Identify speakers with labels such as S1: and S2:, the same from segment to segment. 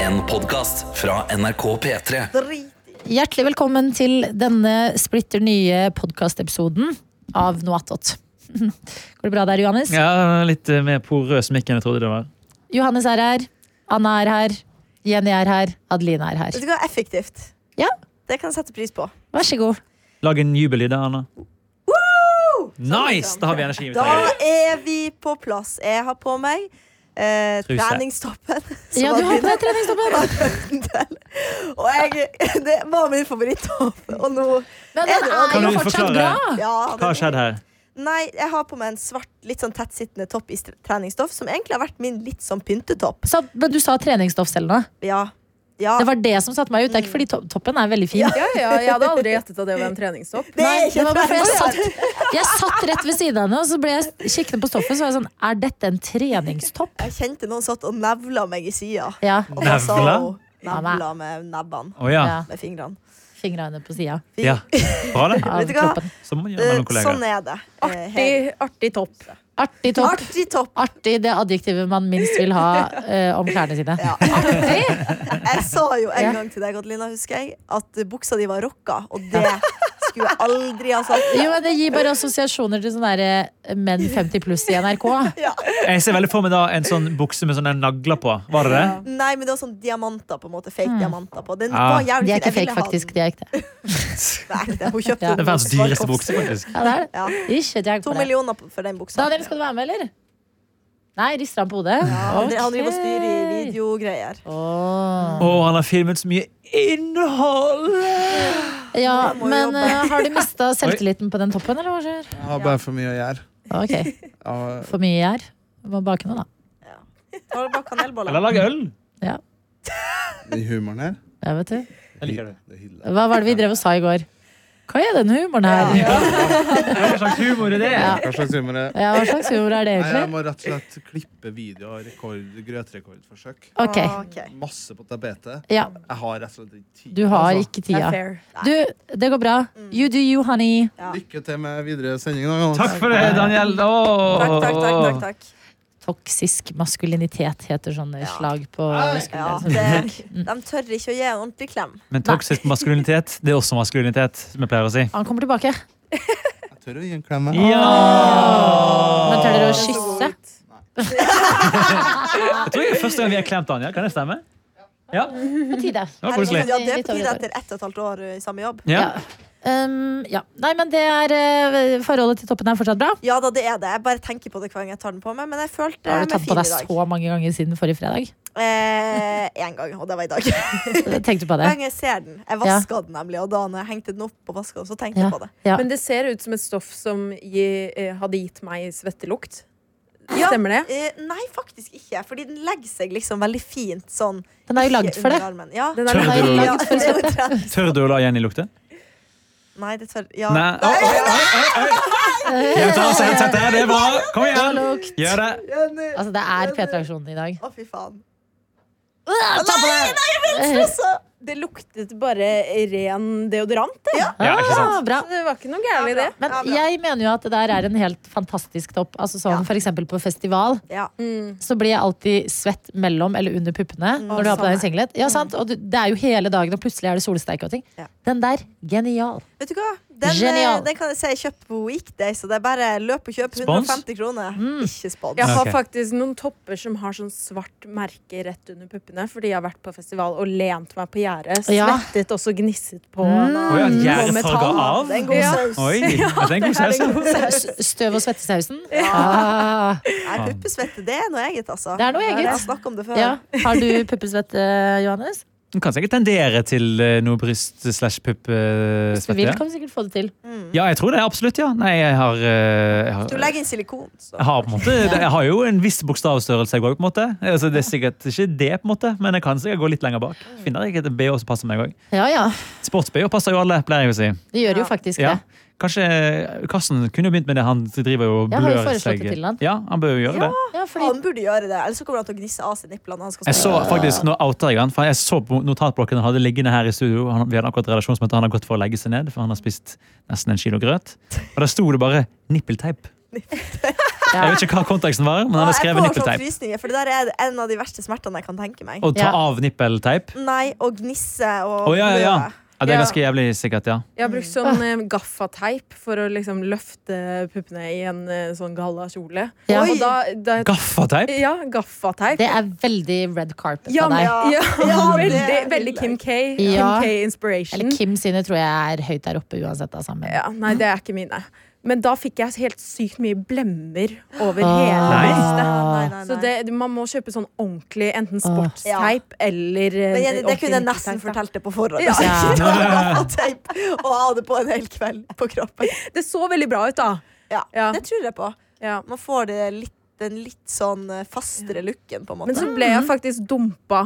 S1: En podcast fra NRK P3
S2: Hjertelig velkommen til denne splitter nye podkastepisoden av Noatot. Går det bra der, Johannes?
S3: Ja, litt eh, mer porøs mikk enn jeg trodde det var.
S2: Johannes er her, Anna er her, Jenny er her, Adeline er her.
S4: Vet du hva, effektivt.
S2: Ja.
S4: Det kan jeg sette pris på.
S2: Vær så god.
S3: Lag en jubellyd, da, Anna. Nice!
S4: liksom.
S3: Da har vi energi. vi
S4: Da
S3: trenger.
S4: er vi på plass. Jeg har på meg eh,
S3: Truse.
S4: treningstoppen. som
S2: Ja, du har på deg treningstoppen.
S4: Adele. Og jeg, det var min favorittopp. Og nå
S2: Men den
S4: Kan
S2: er jo
S3: du
S2: fortsatt
S3: forklare?
S2: bra.
S4: ja,
S3: Hva har
S4: den-
S3: skjedd her?
S4: Nei, jeg har på meg en svart, litt sånn tettsittende topp i st- treningsstoff, som egentlig har vært min litt sånn pyntetopp.
S2: Så, men du sa treningsstoff selv nå.
S4: Ja. Ja.
S2: Det var det som satte meg ut. Det er ikke fordi to toppen er veldig fin.
S5: Ja, ja, jeg hadde aldri gjettet at det var en treningstopp.
S4: Det
S2: Nei,
S4: er
S2: det
S4: ikke
S2: var bare fordi jeg
S4: treningsstoff.
S2: satt, jeg satt rett ved siden av henne, og så ble jeg kikkende på stoffet, så var jeg sånn Er dette en treningstopp?
S4: Jeg kjente noen satt og nevla meg i sida.
S2: Ja.
S3: Nevla?
S4: Nevla med nebbene.
S3: Å ja.
S2: ja.
S4: Med fingrene.
S2: Fingra henne på sida
S3: ja. Bra, det.
S2: av
S4: Vet du hva?
S2: kroppen.
S3: Som man gjør
S4: Eh,
S3: mellom kollegaer.
S4: Sånn er det. Eh, helt-
S5: Artig, artig topp.
S2: Artig topp.
S4: Artig topp.
S2: Artig det adjektivet man minst vil ha eh, om klærne sine.
S4: Ja. Jeg sa jo
S2: Ja.
S4: en gang til deg, Adelina, husker jeg, at buksa di var rocka, og det skulle jeg aldri ha sagt.
S2: Jo, men Det gir bare assosiasjoner til sånne der, eh, menn 50 pluss i NRK.
S3: Jeg ser veldig for meg da en sånn bukse med sånne nagler på. Var det det?
S4: Nei, men det var sånn diamanter, på en måte. Fake diamanter på. Den
S3: Ah.
S4: var jævlig
S2: Mm. De er
S4: fin.
S2: ikke
S4: Jeg ville
S2: fake,
S4: ha
S2: faktisk.
S4: den.
S2: De er ekte.
S4: Det er ekte. Hun kjøpte
S2: Ja.
S4: den hos
S3: Det er verdens dyreste
S4: Swarovski.
S3: bukse, faktisk.
S2: Ja, det er det.
S4: Ja.
S2: Ikke et jern
S4: To
S2: på det.
S4: millioner på- for den buksa.
S2: Daniel, skal du være med, eller? Nei, rister han på hodet?
S4: Ja, han dri- Han driver og
S2: Ok.
S4: styrer i videogreier.
S2: Åh.
S3: Å, han har filmet så mye innhold!
S2: Ja,
S4: Jeg må jo
S2: men
S4: jobbe.
S2: eh, har du mista selvtilliten på den toppen, eller hva skjer?
S6: Jeg har bare for mye å gjøre.
S2: Ok,
S6: Jeg-
S2: for mye gjær. Må bake noe, da.
S4: Da er det bare kanelboller.
S3: Eller lag øl.
S6: Den humoren her.
S2: Ja, vet du.
S3: Jeg liker det.
S6: Det hyller jeg.
S2: Hva var det vi drev og sa i går? Hva er den humoren her?
S3: Hva slags humor er det?
S6: Hva slags humor er det?
S2: Ja, hva slags humor er det
S6: Nei, Jeg
S2: egentlig?
S6: må rett og slett klippe video og rekord, grøtrekordforsøk.
S2: Ok,
S4: Ah, ok.
S6: Masse på tapetet.
S2: ja,
S6: Jeg har rett og slett ikke tid.
S2: du har
S6: altså.
S2: ikke
S5: Det er
S2: tida.
S5: fair.
S2: Du, det går bra.
S4: Mm.
S2: You do you, honey.
S6: Lykke til med videre sending. Da, Jonas.
S3: Takk for det, Daniel.
S4: Takk, takk, takk. takk, takk.
S2: Toksisk maskulinitet heter sånn eh, slag på
S4: Ja,
S2: muskler.
S4: det, de tør ikke å gi en ordentlig klem.
S3: Men toksisk maskulinitet, det er også maskulinitet, som jeg pleier å si.
S2: Han kommer tilbake.
S6: Jeg tør å gi en klem. jeg.
S3: Ja!
S2: Men tør dere å kysse?
S3: Jeg tror det er første gang vi har klemt Daniel. Kan det stemme? Ja, det
S2: På tide. liksom
S3: var koselig.
S4: Ja, det er
S2: Litt
S4: på
S2: over
S4: tide
S2: et år.
S4: etter ett og et halvt år eh, i samme jobb.
S3: Ja.
S2: Um, ja. Nei, men det er eh, Forholdet til toppen er fortsatt bra.
S4: Ja da, det er det. Jeg bare tenker på det hver gang jeg tar den på meg. Men jeg følte
S2: Da har du
S4: meg
S2: tatt på
S4: fin i
S2: deg
S4: dag.
S2: så mange ganger siden forrige fredag.
S4: Eh, en gang, og det var i dag.
S2: Tenkte du på det?
S4: Hver gang jeg ser den. Jeg vaska den nemlig, og da når jeg hengte den opp og vaska den, så tenkte jeg på det.
S2: Ja.
S5: Men det ser ut som et stoff som gi, eh, hadde gitt meg svettelukt.
S4: Ja.
S5: Stemmer det?
S4: Eh, nei, faktisk ikke, fordi den legger seg liksom veldig fint sånn.
S2: Den er jo lagd
S4: ikke
S2: for det.
S4: under armen. Ja.
S5: Den er
S3: Tør
S2: Den er jo
S3: du-
S4: ja,
S2: laget for
S4: det er jo
S2: svette.
S4: trent.
S3: Tør du å la Jenny lukte?
S4: Nei, det tør ja.
S3: Nei. Oi, oi, oi, oi, oi. Jeg tar seg headsetet. Det er bra. Kom igjen.
S2: Lukt.
S3: Gjør det.
S4: Jenny.
S2: Altså, det er P-traksjonen i dag.
S4: Å, fy faen.
S2: Ta på deg!
S4: Altså,
S5: Det luktet bare ren deodorant. det.
S3: Ja, ikke sant?
S2: Ah, bra.
S5: Så Det var ikke noe gærent i det.
S2: Men
S4: Ja, bra.
S2: jeg mener jo at det der er en helt fantastisk topp. Altså sånn,
S4: Ja.
S2: For eksempel på festival
S4: Ja.
S5: Mm.
S2: så blir jeg alltid svett mellom eller under puppene.
S4: Mm.
S2: Når du har på deg en singlet ja, sant? Og du, Det er jo hele dagen, og plutselig er det solsteik og ting.
S4: Ja.
S2: Den der, genial.
S4: Vet du hva? Den, eh,
S2: Genial.
S4: den kan jeg si jeg kjøpte på Weekday, så det er bare løp og kjøp.
S3: Spons?
S4: 150 kroner.
S2: Mm.
S4: Ikke spons.
S5: Jeg har
S3: Ok.
S5: faktisk noen topper som har sånn svart merke rett under puppene. Fordi jeg har vært på festival og lent meg på gjerdet.
S2: Ja.
S5: Svettet og så gnisset på.
S3: Oi,
S4: Mm.
S3: at gjerdet
S5: metall,
S3: farger
S5: da.
S3: av?
S4: Det er en god
S5: Ja.
S4: saus.
S3: Oi, det er en god saus.
S2: S- Støv- og svettesausen. Ah,
S4: Nei, puppesvette, det er noe eget, altså.
S2: Det er noe eget.
S4: Jeg har snakket om det før.
S2: ja. Har du puppesvett, eh, Johannes?
S3: Den kan sikkert tendere til eh, noe
S2: Hvis du vil,
S3: bryst-slash-pupp-svette.
S2: kan du sikkert få det til.
S3: eh, Ja, jeg tror det. Absolutt, ja. Nei, jeg har, eh, jeg har
S4: Du legger inn silikon. Så.
S3: Jeg har, på en måte, jeg har jo en viss bokstavstørrelse, jeg går, på en måte. Altså, det er sikkert ikke det, på en måte, men jeg kan sikkert gå litt lenger bak. Finner jeg ikke en BH som passer meg òg.
S2: Ja, ja.
S3: Sports-BH passer jo alle, pleier jeg å si.
S2: Det gjør jo
S4: Ja.
S2: faktisk
S3: Ja.
S2: det.
S3: Kanskje eh, Karsten kunne jo begynt med det, han driver jo og
S2: Jeg har jo
S3: blør
S2: foreslått det til han.
S3: Ja, han bør jo gjøre det.
S2: Ja, fordi
S4: Han burde gjøre det, ellers så kommer han til å gnisse av seg nipplene. når Han skal
S3: Jeg så
S4: spille.
S3: faktisk, nå outer jeg han, for jeg så på notatblokken han hadde liggende her i studio. Han, vi hadde akkurat redaksjonsmøte, han har gått for å legge seg ned, for han har spist nesten en kilo grøt. Og da sto det bare nippelteip. Jeg vet ikke hva konteksten var, men han
S4: Å,
S3: har
S4: jeg
S3: skrevet
S4: får sånn
S3: nippelteip.
S4: frysninger, for det der er en av de verste smertene jeg kan tenke meg.
S3: Å ta
S2: Ja.
S3: av nippelteip?
S4: Nei, å gnisse og
S3: Å ja, ja, ja.
S4: blø.
S3: ja. Det er
S5: Ja.
S3: ganske jævlig sikkert, ja.
S5: Jeg har brukt sånn eh, gaffateip for å liksom løfte puppene i en eh, sånn gallakjole.
S2: Ja.
S5: Og da, da
S3: Gaffateip?
S5: Ja, gaffateip.
S2: Det er veldig red carpet
S5: Ja,
S2: av
S5: men,
S2: deg.
S5: ja,
S4: det
S5: veldig,
S4: er
S5: veldig Kim K.
S2: Ja.
S5: Kim K inspiration.
S2: Eller Kim sine tror jeg er høyt der oppe uansett. Da, sammen.
S5: Ja, nei, det er ikke mine. Men da fikk jeg helt sykt mye blemmer over hele
S2: Ah.
S5: brystet.
S4: Nei, nei,
S5: Så
S4: nei.
S5: det, man må kjøpe sånn ordentlig enten
S2: Ah.
S5: sportsteip eller eh,
S4: Men Jenny, det
S5: ordentlig
S4: kunne jeg
S5: nippelteip,
S4: nesten
S5: da.
S4: fortalt det på forhånd.
S5: Ja.
S4: Hvis
S2: Ja.
S4: ikke det var gaffateip Og ha det på en hel kveld på kroppen.
S5: Det så veldig bra ut, da.
S4: Ja,
S5: Ja.
S4: Det tror jeg på.
S5: Ja.
S4: Man får det litt, den litt sånn eh, fastere looken, på en
S5: Men
S4: måte.
S5: så ble jeg faktisk dumpa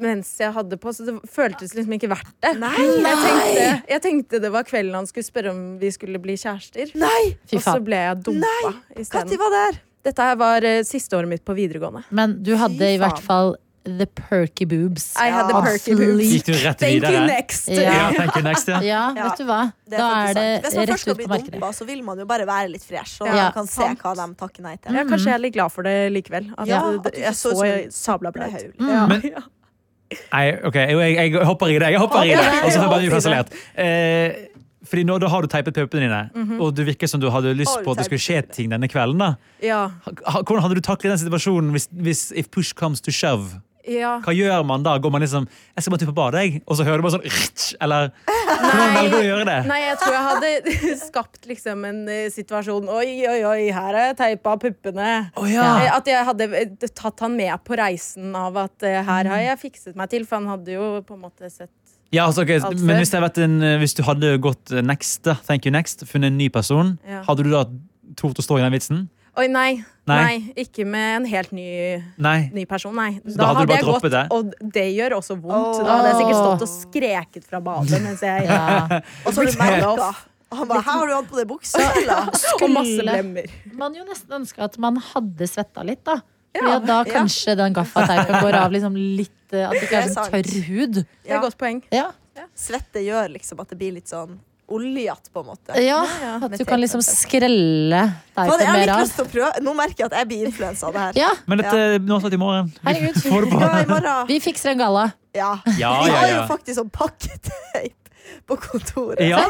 S5: mens jeg hadde på, så det føltes liksom ikke verdt det. Jeg, tenkte, jeg tenkte det var kvelden han skulle spørre om vi skulle bli kjærester,
S4: Nei!
S2: Fy
S5: og så
S2: faen.
S5: ble jeg dumpa
S4: Når
S5: isteden.
S4: var det her?
S5: Dette her var eh, siste året mitt på videregående.
S2: Men du hadde i
S4: faen.
S2: hvert fall the perky boobs.
S5: I had the
S4: Ja.
S5: perky boobs.
S3: Gikk du rett
S5: Thank you
S3: videre?
S5: next.
S3: Ja,
S2: Ja.
S3: thank you next, ja.
S2: ja,
S4: Ja.
S2: vet du hva?
S4: Det er
S2: da
S4: faktisk
S2: er
S4: sant.
S2: det
S4: Hvis man først
S2: rett
S4: skal
S2: ut
S4: bli
S2: på markedet.
S4: dumpa, så vil man jo bare være litt fresh. Og
S5: Ja,
S4: man kan se
S5: sant.
S4: hva de takker nei til.
S5: Jeg er kanskje jeg er litt glad for det likevel. At
S4: Ja,
S5: jeg,
S4: at du ikke
S5: jeg
S4: så
S5: så,
S4: ut som en
S5: sabla bra
S4: sablehaug.
S5: ut.
S2: Mm.
S5: Ja.
S3: Men-
S5: Ja.
S3: Nei, ok, jo, jeg, jeg hopper i det. Jeg hopper i det. Og så har jeg bare ufasilert. Eh, fordi nå da har du teipet puppene dine, og du virker som du hadde lyst
S4: Har du
S3: på at det skulle skje
S4: teipet
S3: ting denne kvelden. da.
S5: Ja.
S3: Ha- Hvordan hadde du taklet den situasjonen hvis, hvis if push comes to shove?
S5: ja.
S3: Hva gjør man da? Går man liksom Jeg skal bare type på badet, jeg. Og så hører du bare sånn «Rrtsj», Eller hvordan velger du å gjøre det?
S5: Nei, jeg tror jeg hadde skapt liksom en eh, situasjon Oi, oi, oi, her er jeg teipa puppene.
S3: Å, ja.
S5: Eh, At jeg hadde eh, tatt han med på reisen av at eh, her har jeg fikset meg til, for han hadde jo på en måte sett
S3: Ja, altså, ok,
S5: Alt
S3: men
S5: før.
S3: hvis, det hadde vært en, eh, hvis du hadde gått eh, next, da, thank you next, funnet en ny person,
S5: Ja.
S3: hadde du da tort å stå i den vitsen?
S5: Oi, nei. Nei,
S3: Nei.
S5: ikke med en helt ny
S3: Nei.
S5: ny person, nei.
S3: da hadde
S5: Da,
S3: du
S5: hadde
S3: bare
S5: jeg
S3: droppet
S5: gått,
S3: det?
S5: og det gjør også vondt. Da hadde jeg sikkert stått og skreket fra badet mens jeg
S2: Ja.
S4: Og så har du
S5: Helt
S4: merka.
S5: off.
S4: Og han bare 'Her har du hatt på deg buksa', eller?
S5: Og masse
S2: Skulle
S5: blemmer.
S2: man jo nesten ønske at man hadde svetta litt, da. Fordi
S5: Ja,
S2: at da
S4: ja.
S2: kanskje den gaffateipen går av liksom litt eh, At det ikke
S4: Det
S2: er
S4: er
S2: sånn
S4: sant.
S2: tørr hud.
S5: Det er et godt poeng.
S2: Ja.
S4: Svette gjør liksom at det blir litt sånn oljete, på en måte.
S2: ja,
S4: ja,
S2: At
S4: med
S2: du kan
S4: tape,
S2: liksom
S4: tape.
S2: skrelle
S4: Faen,
S2: teipen
S4: jeg har
S2: mer
S4: litt
S2: av.
S4: lyst til å prøve. Nå merker jeg at jeg blir influensa av det her.
S2: Ja,
S3: Men dette ja. nå satt i morgen.
S2: Herregud.
S3: Vi får det på.
S4: Ja, i morgen.
S2: vi fikser en galla.
S4: Ja.
S3: Ja,
S4: Vi
S3: ja,
S4: har jo
S3: ja.
S4: faktisk sånn pakketeip på kontoret.
S3: ja.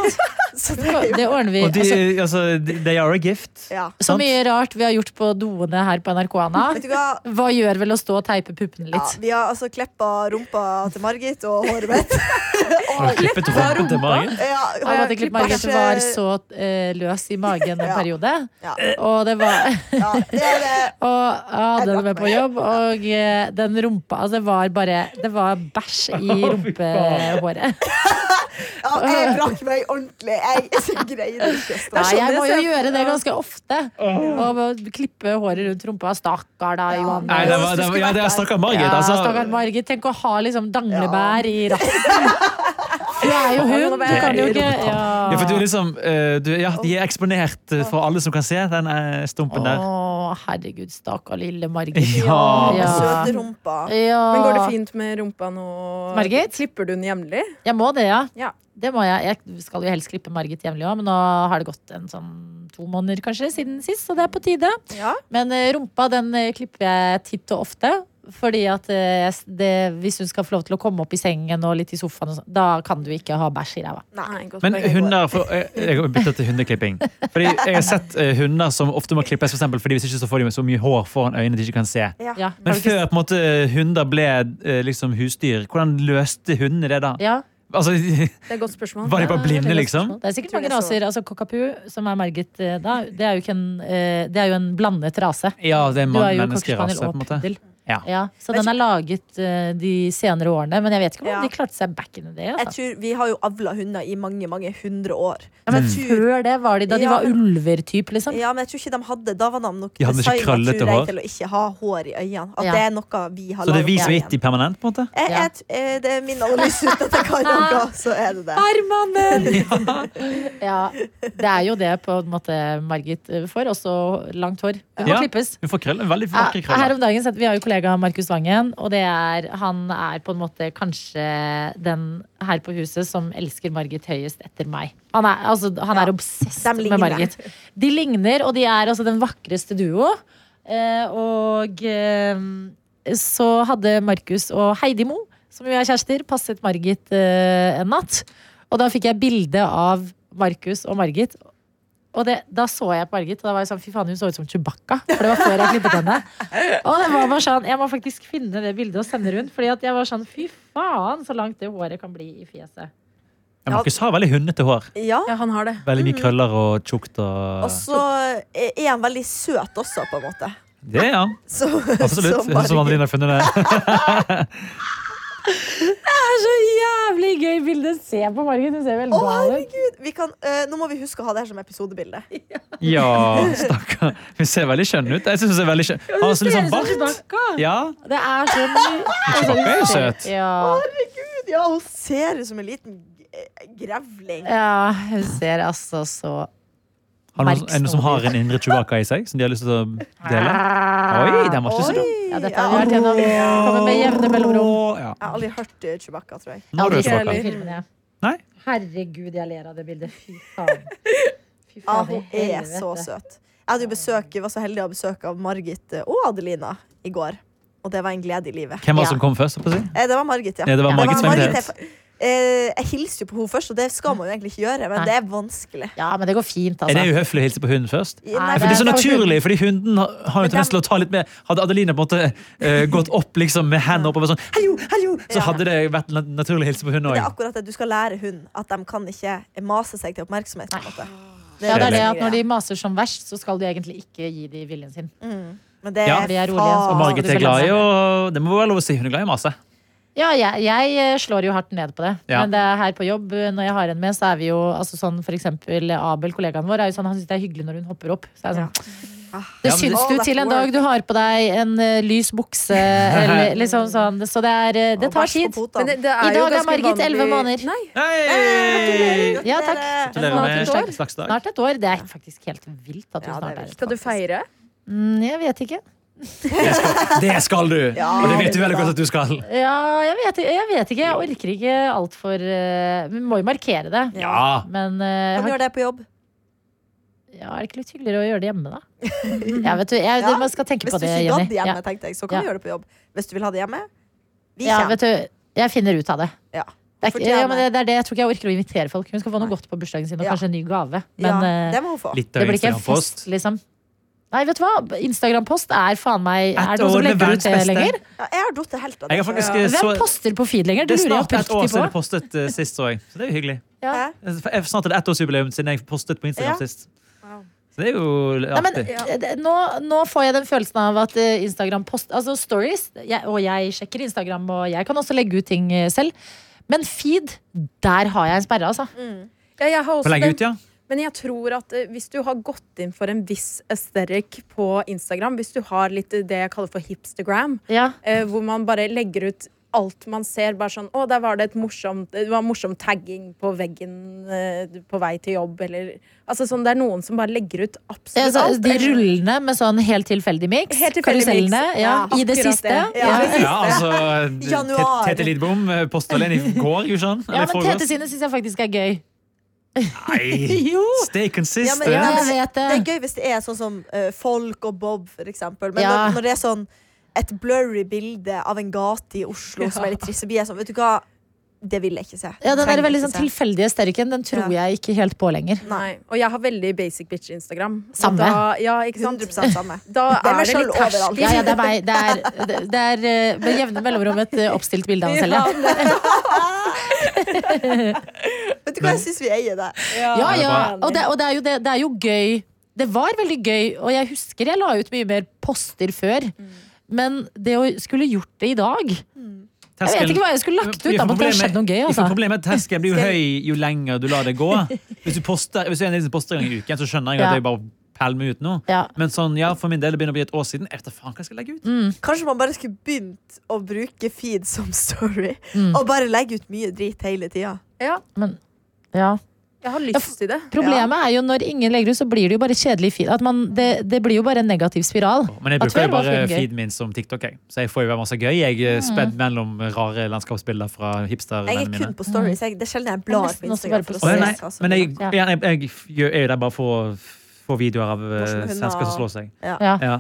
S4: Så det er jo
S2: Det ordner vi.
S3: Og de,
S2: Altså,
S3: altså, de- they are a gift.
S4: ja.
S2: så
S3: sant.
S2: mye rart vi har gjort på doene her på NRK, Anna.
S4: Vet du hva?
S2: Hva gjør vel å stå og teipe puppene
S4: Ja,
S2: litt?
S4: vi har altså klippa rumpa til Margit og håret mitt.
S3: Har du klippet rumpen til Margit?
S4: Ja,
S2: Jeg måtte klippe Margit
S4: kanskje-
S2: var så eh, løs i magen en
S4: Ja.
S2: periode.
S4: Ja.
S2: Og det var
S4: ja, det er det.
S2: Og jeg hadde
S4: Jeg
S2: det
S4: drakk
S2: med på
S4: meg.
S2: jobb, og eh, den rumpa altså, Det var bare Det var bæsj i rumpehåret.
S4: Ja, jeg brakk meg ordentlig. Jeg, jeg greier ikke å stå.
S2: Nei, jeg
S5: jeg
S2: må jo
S5: ser-
S2: gjøre det ganske ofte. Og bare klippe håret rundt rumpa. Stakkar da,
S4: Ja.
S2: Johanne.
S3: Nei, det var, det var, ja, det er stakkar Margit.
S2: Ja,
S3: Altså,
S2: stakkar Margit. Tenk å ha liksom danglebær i rassen. Du er jo hun. Du kan jo ikke
S3: ja, for du er
S2: ja.
S3: liksom eh, du, ja, De er eksponert eh, for alle som kan se den eh, stumpen
S2: Å,
S3: der.
S2: herregud, stakkar lille Margit.
S3: Ja.
S2: Ja.
S4: Søte rumpa.
S2: Ja.
S5: Men går det fint med rumpa nå?
S2: Margit?
S5: Klipper du den jevnlig?
S2: Jeg må det, ja.
S5: Ja.
S2: Det må jeg. jeg skal jo helst klippe Margit jevnlig òg, men nå har det gått en sånn to måneder kanskje siden sist, så det er på tide.
S4: Ja.
S2: Men eh, rumpa den eh, klipper jeg titt og ofte. Fordi at eh, jeg s- det, hvis hun skal få lov til å komme opp i sengen og litt i sofaen, og sånn, da kan du ikke ha bæsj i ræva.
S4: Nei.
S5: godt
S3: Men
S5: poeng.
S3: hunder får- eh, Jeg har byttet til hundeklipping. Fordi Jeg har sett eh, hunder som ofte må klippes, for eksempel, fordi hvis ikke så får de så mye hår foran øynene de ikke kan se.
S2: Ja.
S3: Men før på en måte, hunder ble eh, liksom husdyr, hvordan løste hundene det da?
S2: Ja,
S3: Altså,
S5: Det er et godt spørsmål.
S3: Var de bare blinde,
S2: det er
S3: liksom?
S2: Det er sikkert
S5: Jeg tror
S2: mange
S5: det er så-
S2: raser. Altså Cockapoo, som er Margit eh, da, det er jo, ikke en, eh, det er jo en blandet rase.
S3: Ja, det
S2: Du er
S3: er man-
S2: jo
S3: menneskerase,
S2: cockerspaniel
S3: på en
S2: og
S3: måte.
S2: puddel.
S3: Ja.
S2: Ja, så
S4: Men-
S2: den er laget eh, de senere årene, men jeg vet ikke om
S4: Ja.
S2: de klarte seg back in the day.
S4: Jeg
S2: Altså.
S4: tror, vi har jo avla hunder i mange mange hundre år.
S2: Ja, men
S4: jeg tror,
S2: før det var de da de
S4: Ja,
S2: var
S4: men-
S2: ulver-typ, liksom.
S4: ja, men jeg tror ikke de hadde Da var de nok
S3: De hadde ikke
S4: designet,
S3: krøllete
S4: tror jeg,
S3: hår?
S4: til å ikke ha hår i øynene. At
S2: Ja.
S4: det er noe vi har
S3: Så det er
S4: laget
S3: vi som er
S4: igjen.
S3: gitt i permanent, på en måte?
S4: jeg, jeg, eh, Det er min analyse ut at jeg kan noe, så er det det.
S2: Hermannen! ja, det er jo det på en måte Margit eh, får. Også langt hår. Det må
S3: Ja.
S2: klippes.
S3: Hun får krøller, veldig vakre
S2: Her
S3: krøller.
S2: om dagen, så at Vi har jo kollegaer kollega Markus Vangen, og det er Han er på en måte kanskje den her på huset som elsker Margit høyest etter meg. Han er, altså, han er obsess
S4: de
S2: med
S4: ligner.
S2: Margit. De ligner, og de er altså den vakreste duo. Eh, og eh, så hadde Markus og Heidi Mo, som jo er kjærester, passet Margit eh, en natt. Og da fikk jeg bilde av Markus og Margit. Og det, da så jeg på Margit, og da var jeg sånn, fy faen, hun så ut som Chewbacca. For det var før jeg klippet henne. Og det var bare sånn, jeg må faktisk finne det bildet og sende rundt. Fordi at jeg var sånn, fy faen, så langt det håret kan bli i fjeset.
S3: Ja, Markus har veldig hundete hår.
S4: Ja.
S5: Ja, han har det.
S3: Veldig
S2: Mm.
S3: mye krøller og tjukt. Og...
S4: Og så er han veldig søt også, på en måte.
S3: Det, ja.
S4: Så,
S3: Absolutt.
S4: så
S3: Jeg synes som
S4: Margit-
S3: Adeline har funnet det.
S2: Det er så jævlig gøy bilde. Se på Margit, hun ser veldig
S4: Å,
S2: gal ut.
S4: herregud! Vi kan, eh, nå må vi huske å ha det her som episodebilde.
S3: Ja, stakkar. Hun ser veldig skjønn ut. Jeg synes hun ser veldig skjønn Har så litt sånn bart. Ja,
S2: Det er så mye.
S3: Chewbacca er jo søt.
S2: Ja.
S4: Herregud, ja, hun ser ut som en liten g- eh, grevling.
S2: ja, hun ser altså så
S3: Har noen, er det noen som har en indre Chewbacca i seg, som de har lyst til å dele? Oi, den var ikke så dum.
S2: Ja, dette har vi vært gjennom. Ah, Kommer med jevne mellomrom.
S3: Ja.
S4: Jeg har aldri hørt eh, Chewbacca, tror jeg.
S3: Nå har du
S2: Aldri
S3: Chewbacca.
S2: sett den filmen, jeg.
S3: Nei?
S2: Herregud, jeg ler av det bildet. Fy faen. Fy
S4: Ja,
S2: i
S4: hun er
S2: helvete.
S4: så søt. Jeg hadde jo besøk, var så heldig å ha besøk av Margit eh, og Adelina i går. Og det var en glede i livet.
S3: Hvem var det
S2: Ja.
S3: som kom først? holdt på å si?
S4: Eh, Det var Margit, ja.
S3: Ja, det var Margit som
S4: jeg, eh, jeg hilste jo på henne først, og det skal man jo egentlig ikke gjøre, men
S2: Nei.
S4: det er vanskelig.
S2: Ja, men det går fint,
S3: Er det
S2: altså.
S3: uhøflig å hilse på hunden først?
S4: Nei,
S2: Nei,
S3: Ja, for det er så
S2: det er
S3: naturlig, fordi hunden har- har jo tendens til å ta litt mer Hadde Adeline på en måte eh, gått opp liksom, med hendene oppover sånn, hallo, hallo, så
S4: Ja.
S3: hadde det vært na- naturlig å hilse på hunden
S4: det er
S3: òg.
S4: akkurat det. Du skal lære hund at de kan ikke mase seg til oppmerksomhet. På en måte.
S2: Ja, det er det
S4: liksom
S2: at Når de maser som verst, så skal du egentlig ikke gi dem viljen sin.
S4: Men det
S3: Ja.
S4: er
S2: De er
S4: faen-
S2: rolige, altså. så
S3: Og Margit er glad i å Det må være lov å si. Hun er glad i å mase.
S2: Ja, jeg, jeg slår jo hardt ned på det.
S3: Ja.
S2: Men det er her på jobb, eh, når jeg har en med, så er vi jo altså sånn for eksempel Abel, kollegaen vår, er jo sånn, han syns det er hyggelig når hun hopper opp. Så er jeg sånn, det
S3: Ja, men-
S2: syns
S4: Ah. All
S2: du
S4: that
S2: til en dag
S4: work.
S2: du har på deg en eh, lys bukse, eller liksom sånn. Så det er eh, Det
S4: Og
S2: tar
S4: bæsj på
S2: tid.
S4: potene.
S5: Men det, det
S2: I
S5: er jo
S2: dag er
S5: ganske
S2: Margit 11
S5: vanlig-
S2: måneder.
S5: Nei,
S3: Hei!
S2: Ja, takk.
S4: Gratulerer.
S3: Gratulerer med
S2: Snart et år.
S3: slags dag.
S2: Snart et år. Det er faktisk helt vilt at hun
S4: Ja, det er
S2: snart er
S4: vilt.
S2: et
S5: skal du feire?
S2: Mm, jeg vet ikke.
S3: Det skal du!
S4: Ja,
S3: Og det vet du veldig godt at du skal.
S2: Ja, jeg vet, jeg vet ikke. Jeg orker ikke altfor uh, Vi må jo markere det.
S3: Ja.
S2: Men eh, jeg
S4: Kan gjøre
S2: har,
S4: det på jobb.
S2: ja, er det ikke litt hyggeligere å gjøre det hjemme, da? Ja, vet du, jeg,
S4: Ja,
S2: Man skal tenke
S4: Hvis
S2: på
S4: du
S2: det,
S4: ikke gadd
S2: Jenny.
S4: hjemme,
S2: Ja.
S4: tenkte jeg, så kan
S2: Ja.
S4: du gjøre det på jobb. Hvis du vil ha det hjemme, vi
S2: Ja,
S4: kommer.
S2: vet du, jeg finner ut av det.
S4: Ja.
S2: Det er, ikke-
S4: Fortjener.
S2: ja, men det, det er det jeg tror ikke jeg orker å invitere folk. Hun skal få noe
S4: Nei.
S2: godt på bursdagen sin, og
S4: Ja.
S2: kanskje en ny gave. Men
S4: Ja,
S2: eh,
S4: det må hun få.
S3: Litt
S2: det
S3: av
S2: blir ikke en fest,
S3: Instagram-post.
S2: liksom. Nei, vet du hva? Instagram-post er faen meg Er
S3: Et
S2: det noen
S3: år
S2: som
S3: med
S2: legger ut
S3: verdens
S2: det
S3: beste.
S2: lenger?
S4: Ja, jeg har datt helt av det.
S3: Jeg har faktisk
S4: Ja.
S3: eh,
S2: Hvem
S3: så
S2: poster på feed lenger?
S3: Det
S2: Det
S3: er
S2: lurer jeg
S3: snart et år
S2: oppriktig
S3: siden
S2: på.
S3: jeg postet eh, sist, så jeg. Så det er jo hyggelig.
S2: Ja.
S4: Hæ?
S3: Det er Snart et ettårsjubileum siden jeg postet på
S4: Ja.
S3: Instagram sist. Så det er jo
S2: Nei, men,
S3: artig.
S2: eh, det- nå, nå får jeg den følelsen av at eh, Instagram post, altså stories jeg, Og jeg sjekker Instagram, og jeg kan også legge ut ting eh, selv. Men feed, der har jeg en sperre, altså.
S5: Mm. Ja, jeg har
S3: På
S5: også
S3: lenge
S5: den.
S3: ut, ja.
S5: Men jeg tror at eh, hvis du har gått inn for en viss aesthetic på Instagram, hvis du har litt eh, det jeg kaller for hipstagram,
S2: Ja.
S5: eh, hvor man bare legger ut alt man ser, bare sånn Å, der var det et morsomt Det var morsom tagging på veggen eh, på vei til jobb, eller Altså sånn, det er noen som bare legger ut absolutt
S2: Altså,
S5: alt.
S2: de rullene med sånn helt tilfeldig miks.
S5: Helt tilfeldig mix.
S2: Karusellene. Ja,
S5: Ja,
S2: I det
S5: akkurat
S2: siste.
S5: det.
S2: Ja. Ja.
S3: Ja, altså
S4: Januar.
S3: Tete Lidbom eh, postet alene i går, gjorde han? Eller i
S2: men
S3: forgårs?
S2: Tete sine syns jeg faktisk er gøy.
S3: Nei!
S2: Jo!
S3: Stay
S4: Ja,
S3: consistent.
S4: men, ja,
S2: Jeg
S4: men
S2: vet det.
S4: det er gøy hvis det er sånn som eh, folk og Bob, for eksempel. Men
S2: Ja.
S4: når, når det er sånn et blurry bilde av en gate i Oslo som er litt trist, så blir jeg sånn Vet du hva, det vil jeg ikke se.
S2: Ja, den
S4: Trenger
S2: der veldig
S4: ikke
S2: sånn
S4: se.
S2: tilfeldige sterken, den tror jeg ikke helt på lenger.
S5: Nei. Og jeg har veldig basic bitch-instagram. Og
S2: Samme.
S5: Da, ja,
S2: sånn-
S5: ikke sant?
S4: 100 samme.
S5: Da
S4: Det er
S5: er
S4: meg
S5: det
S4: selv
S5: litt terskel.
S4: overalt.
S2: Ja, ja, det er meg. Det er, det, det er eh, med jevne mellomrom et eh, oppstilt bilde av meg selv. Ja.
S4: Vet du hva, jeg syns vi eier det.
S2: Ja,
S3: det er
S2: ja.
S3: bra.
S2: Og, det, og det, er jo, det, det er jo gøy. Det var veldig gøy, og jeg husker jeg la ut mye mer poster før.
S3: Mm.
S2: Men det å skulle gjort det i dag Jeg vet ikke hva jeg skulle lagt ut, da, men det har skjedd noe gøy. Altså.
S3: Problemet er at terskelen blir jo høy jo lenger du lar det gå. Hvis du poster, hvis du er en som poster en gang i uken, så skjønner jeg
S2: Ja.
S3: at jeg bare pælmer ut nå.
S2: Ja.
S3: Men sånn, ja, for min del det begynner å bli et år siden. Jeg vet da faen hva jeg skal legge ut.
S4: Kanskje man bare skulle begynt å bruke feed
S2: Mm.
S4: som story, og bare legge ut mye drit hele tida.
S5: Ja.
S2: ja.
S5: Jeg har lyst til det.
S2: Problemet er jo når ingen legger ut, så blir det jo bare kjedelig feed. At man, det, det blir jo bare en negativ spiral.
S3: Men jeg
S2: At
S3: bruker
S2: før
S3: jo
S2: var
S3: bare
S2: film gøy. Mm.
S3: feeden min som TikTok, jeg. så jeg får jo være masse gøy. Jeg er spedd mellom rare landskapsbilder fra
S4: Jeg
S3: hipstervennene
S4: er
S3: mine.
S4: kun på stories. Jeg, det er sjelden jeg blar på
S2: Nesten også bare
S4: Instagram.
S2: på
S4: for å
S3: Å,
S4: se
S3: ja, nei,
S4: hva som-
S3: men jeg,
S2: Ja.
S3: igjen, jeg, jeg, gjør- er jo der bare for å få videoer av eh,
S4: Morsomme hunder.
S3: svensker som slår seg.
S2: Ja.
S3: Ja. Ja.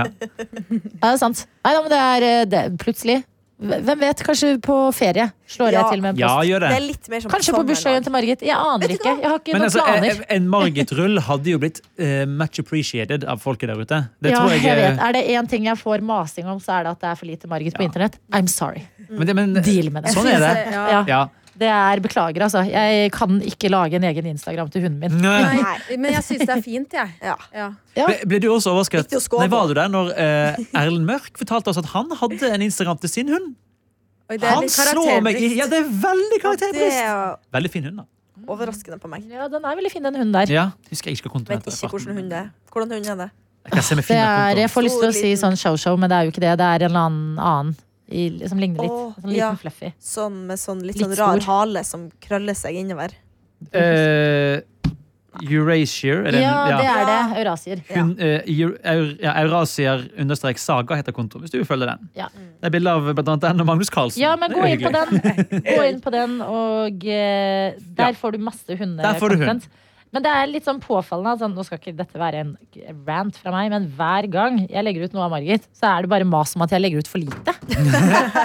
S2: Ja, det er sant. Nei, da, men det er eh, det, plutselig. Hvem vet? Kanskje på ferie slår
S4: Ja.
S2: jeg til med en
S3: ja,
S2: post.
S3: gjør det.
S4: Det er litt mer sånn
S2: Kanskje på bursdagen til Margit. Jeg aner
S4: Vet du
S2: ikke. Jeg har ikke
S3: Men
S2: noen
S3: altså,
S2: planer.
S3: en, en Margit-rull hadde jo blitt eh, much appreciated av folket der ute. Det
S2: ja,
S3: tror jeg, eh,
S2: jeg vet. Er det én ting jeg får masing om, så er det at det er for lite Margit på internett. I'm sorry.
S3: Men, det- men,
S2: Mm. Deal med det.
S3: Sånn er det.
S5: Ja.
S2: Ja,
S3: Ja.
S2: det er Beklager, altså. Jeg kan ikke lage en egen Instagram til hunden min.
S3: Nei.
S5: Nei, men jeg syns det er fint, jeg.
S4: Ja.
S5: Ja.
S2: Ja.
S3: Ble, ble du også overrasket?
S4: Viktig å skåle.
S3: Nei, var du der når eh, Erlend Mørk fortalte oss at han hadde en Instagram til sin hund?
S5: Oi, det er
S3: Han
S5: litt
S3: slår meg i
S5: karakterbrist.
S3: Ja, det er veldig
S4: Det
S3: karakterbrist!
S4: er
S3: Veldig fin hund, da.
S4: overraskende på meg.
S2: Ja, den er veldig fin, den hunden der.
S3: Ja, husker jeg ikke hva kontoen
S4: Vet
S3: heter.
S4: ikke hvordan hund det er. Hvordan hund er det?
S3: Jeg kan se med
S2: Det
S3: fingerkontoen.
S2: er, jeg får lyst til å si sånn show-show, men det er jo ikke det. Det er en eller annen annen i, som ligner litt.
S4: Åh,
S2: Sånn liten
S4: ja.
S2: fluffy.
S4: Sånn med sånn litt,
S2: Litt
S4: sånn rar
S2: stor.
S4: hale som krøller seg innover.
S3: Eh, Eurasia er det en-
S2: Ja, det
S3: ja.
S2: er det. Eurasier.
S3: Hun, eh, Eur- Eur- ja, Eurasier understrek saga heter kontoen, hvis du vil følge den.
S2: Ja.
S3: Det er bilde av blant annet den og Magnus Carlsen.
S2: Ja, men
S3: Det er
S2: gå
S3: jo
S2: inn på
S3: hyggelig.
S2: den. Gå inn på den, og eh,
S3: Ja.
S2: der får du masse
S3: Der får du hund.
S2: hundekontent. Men det er litt sånn påfallende. altså, nå skal ikke dette være en rant fra meg, men hver gang jeg legger ut noe av Margit, så er det bare mas om at jeg legger ut for lite.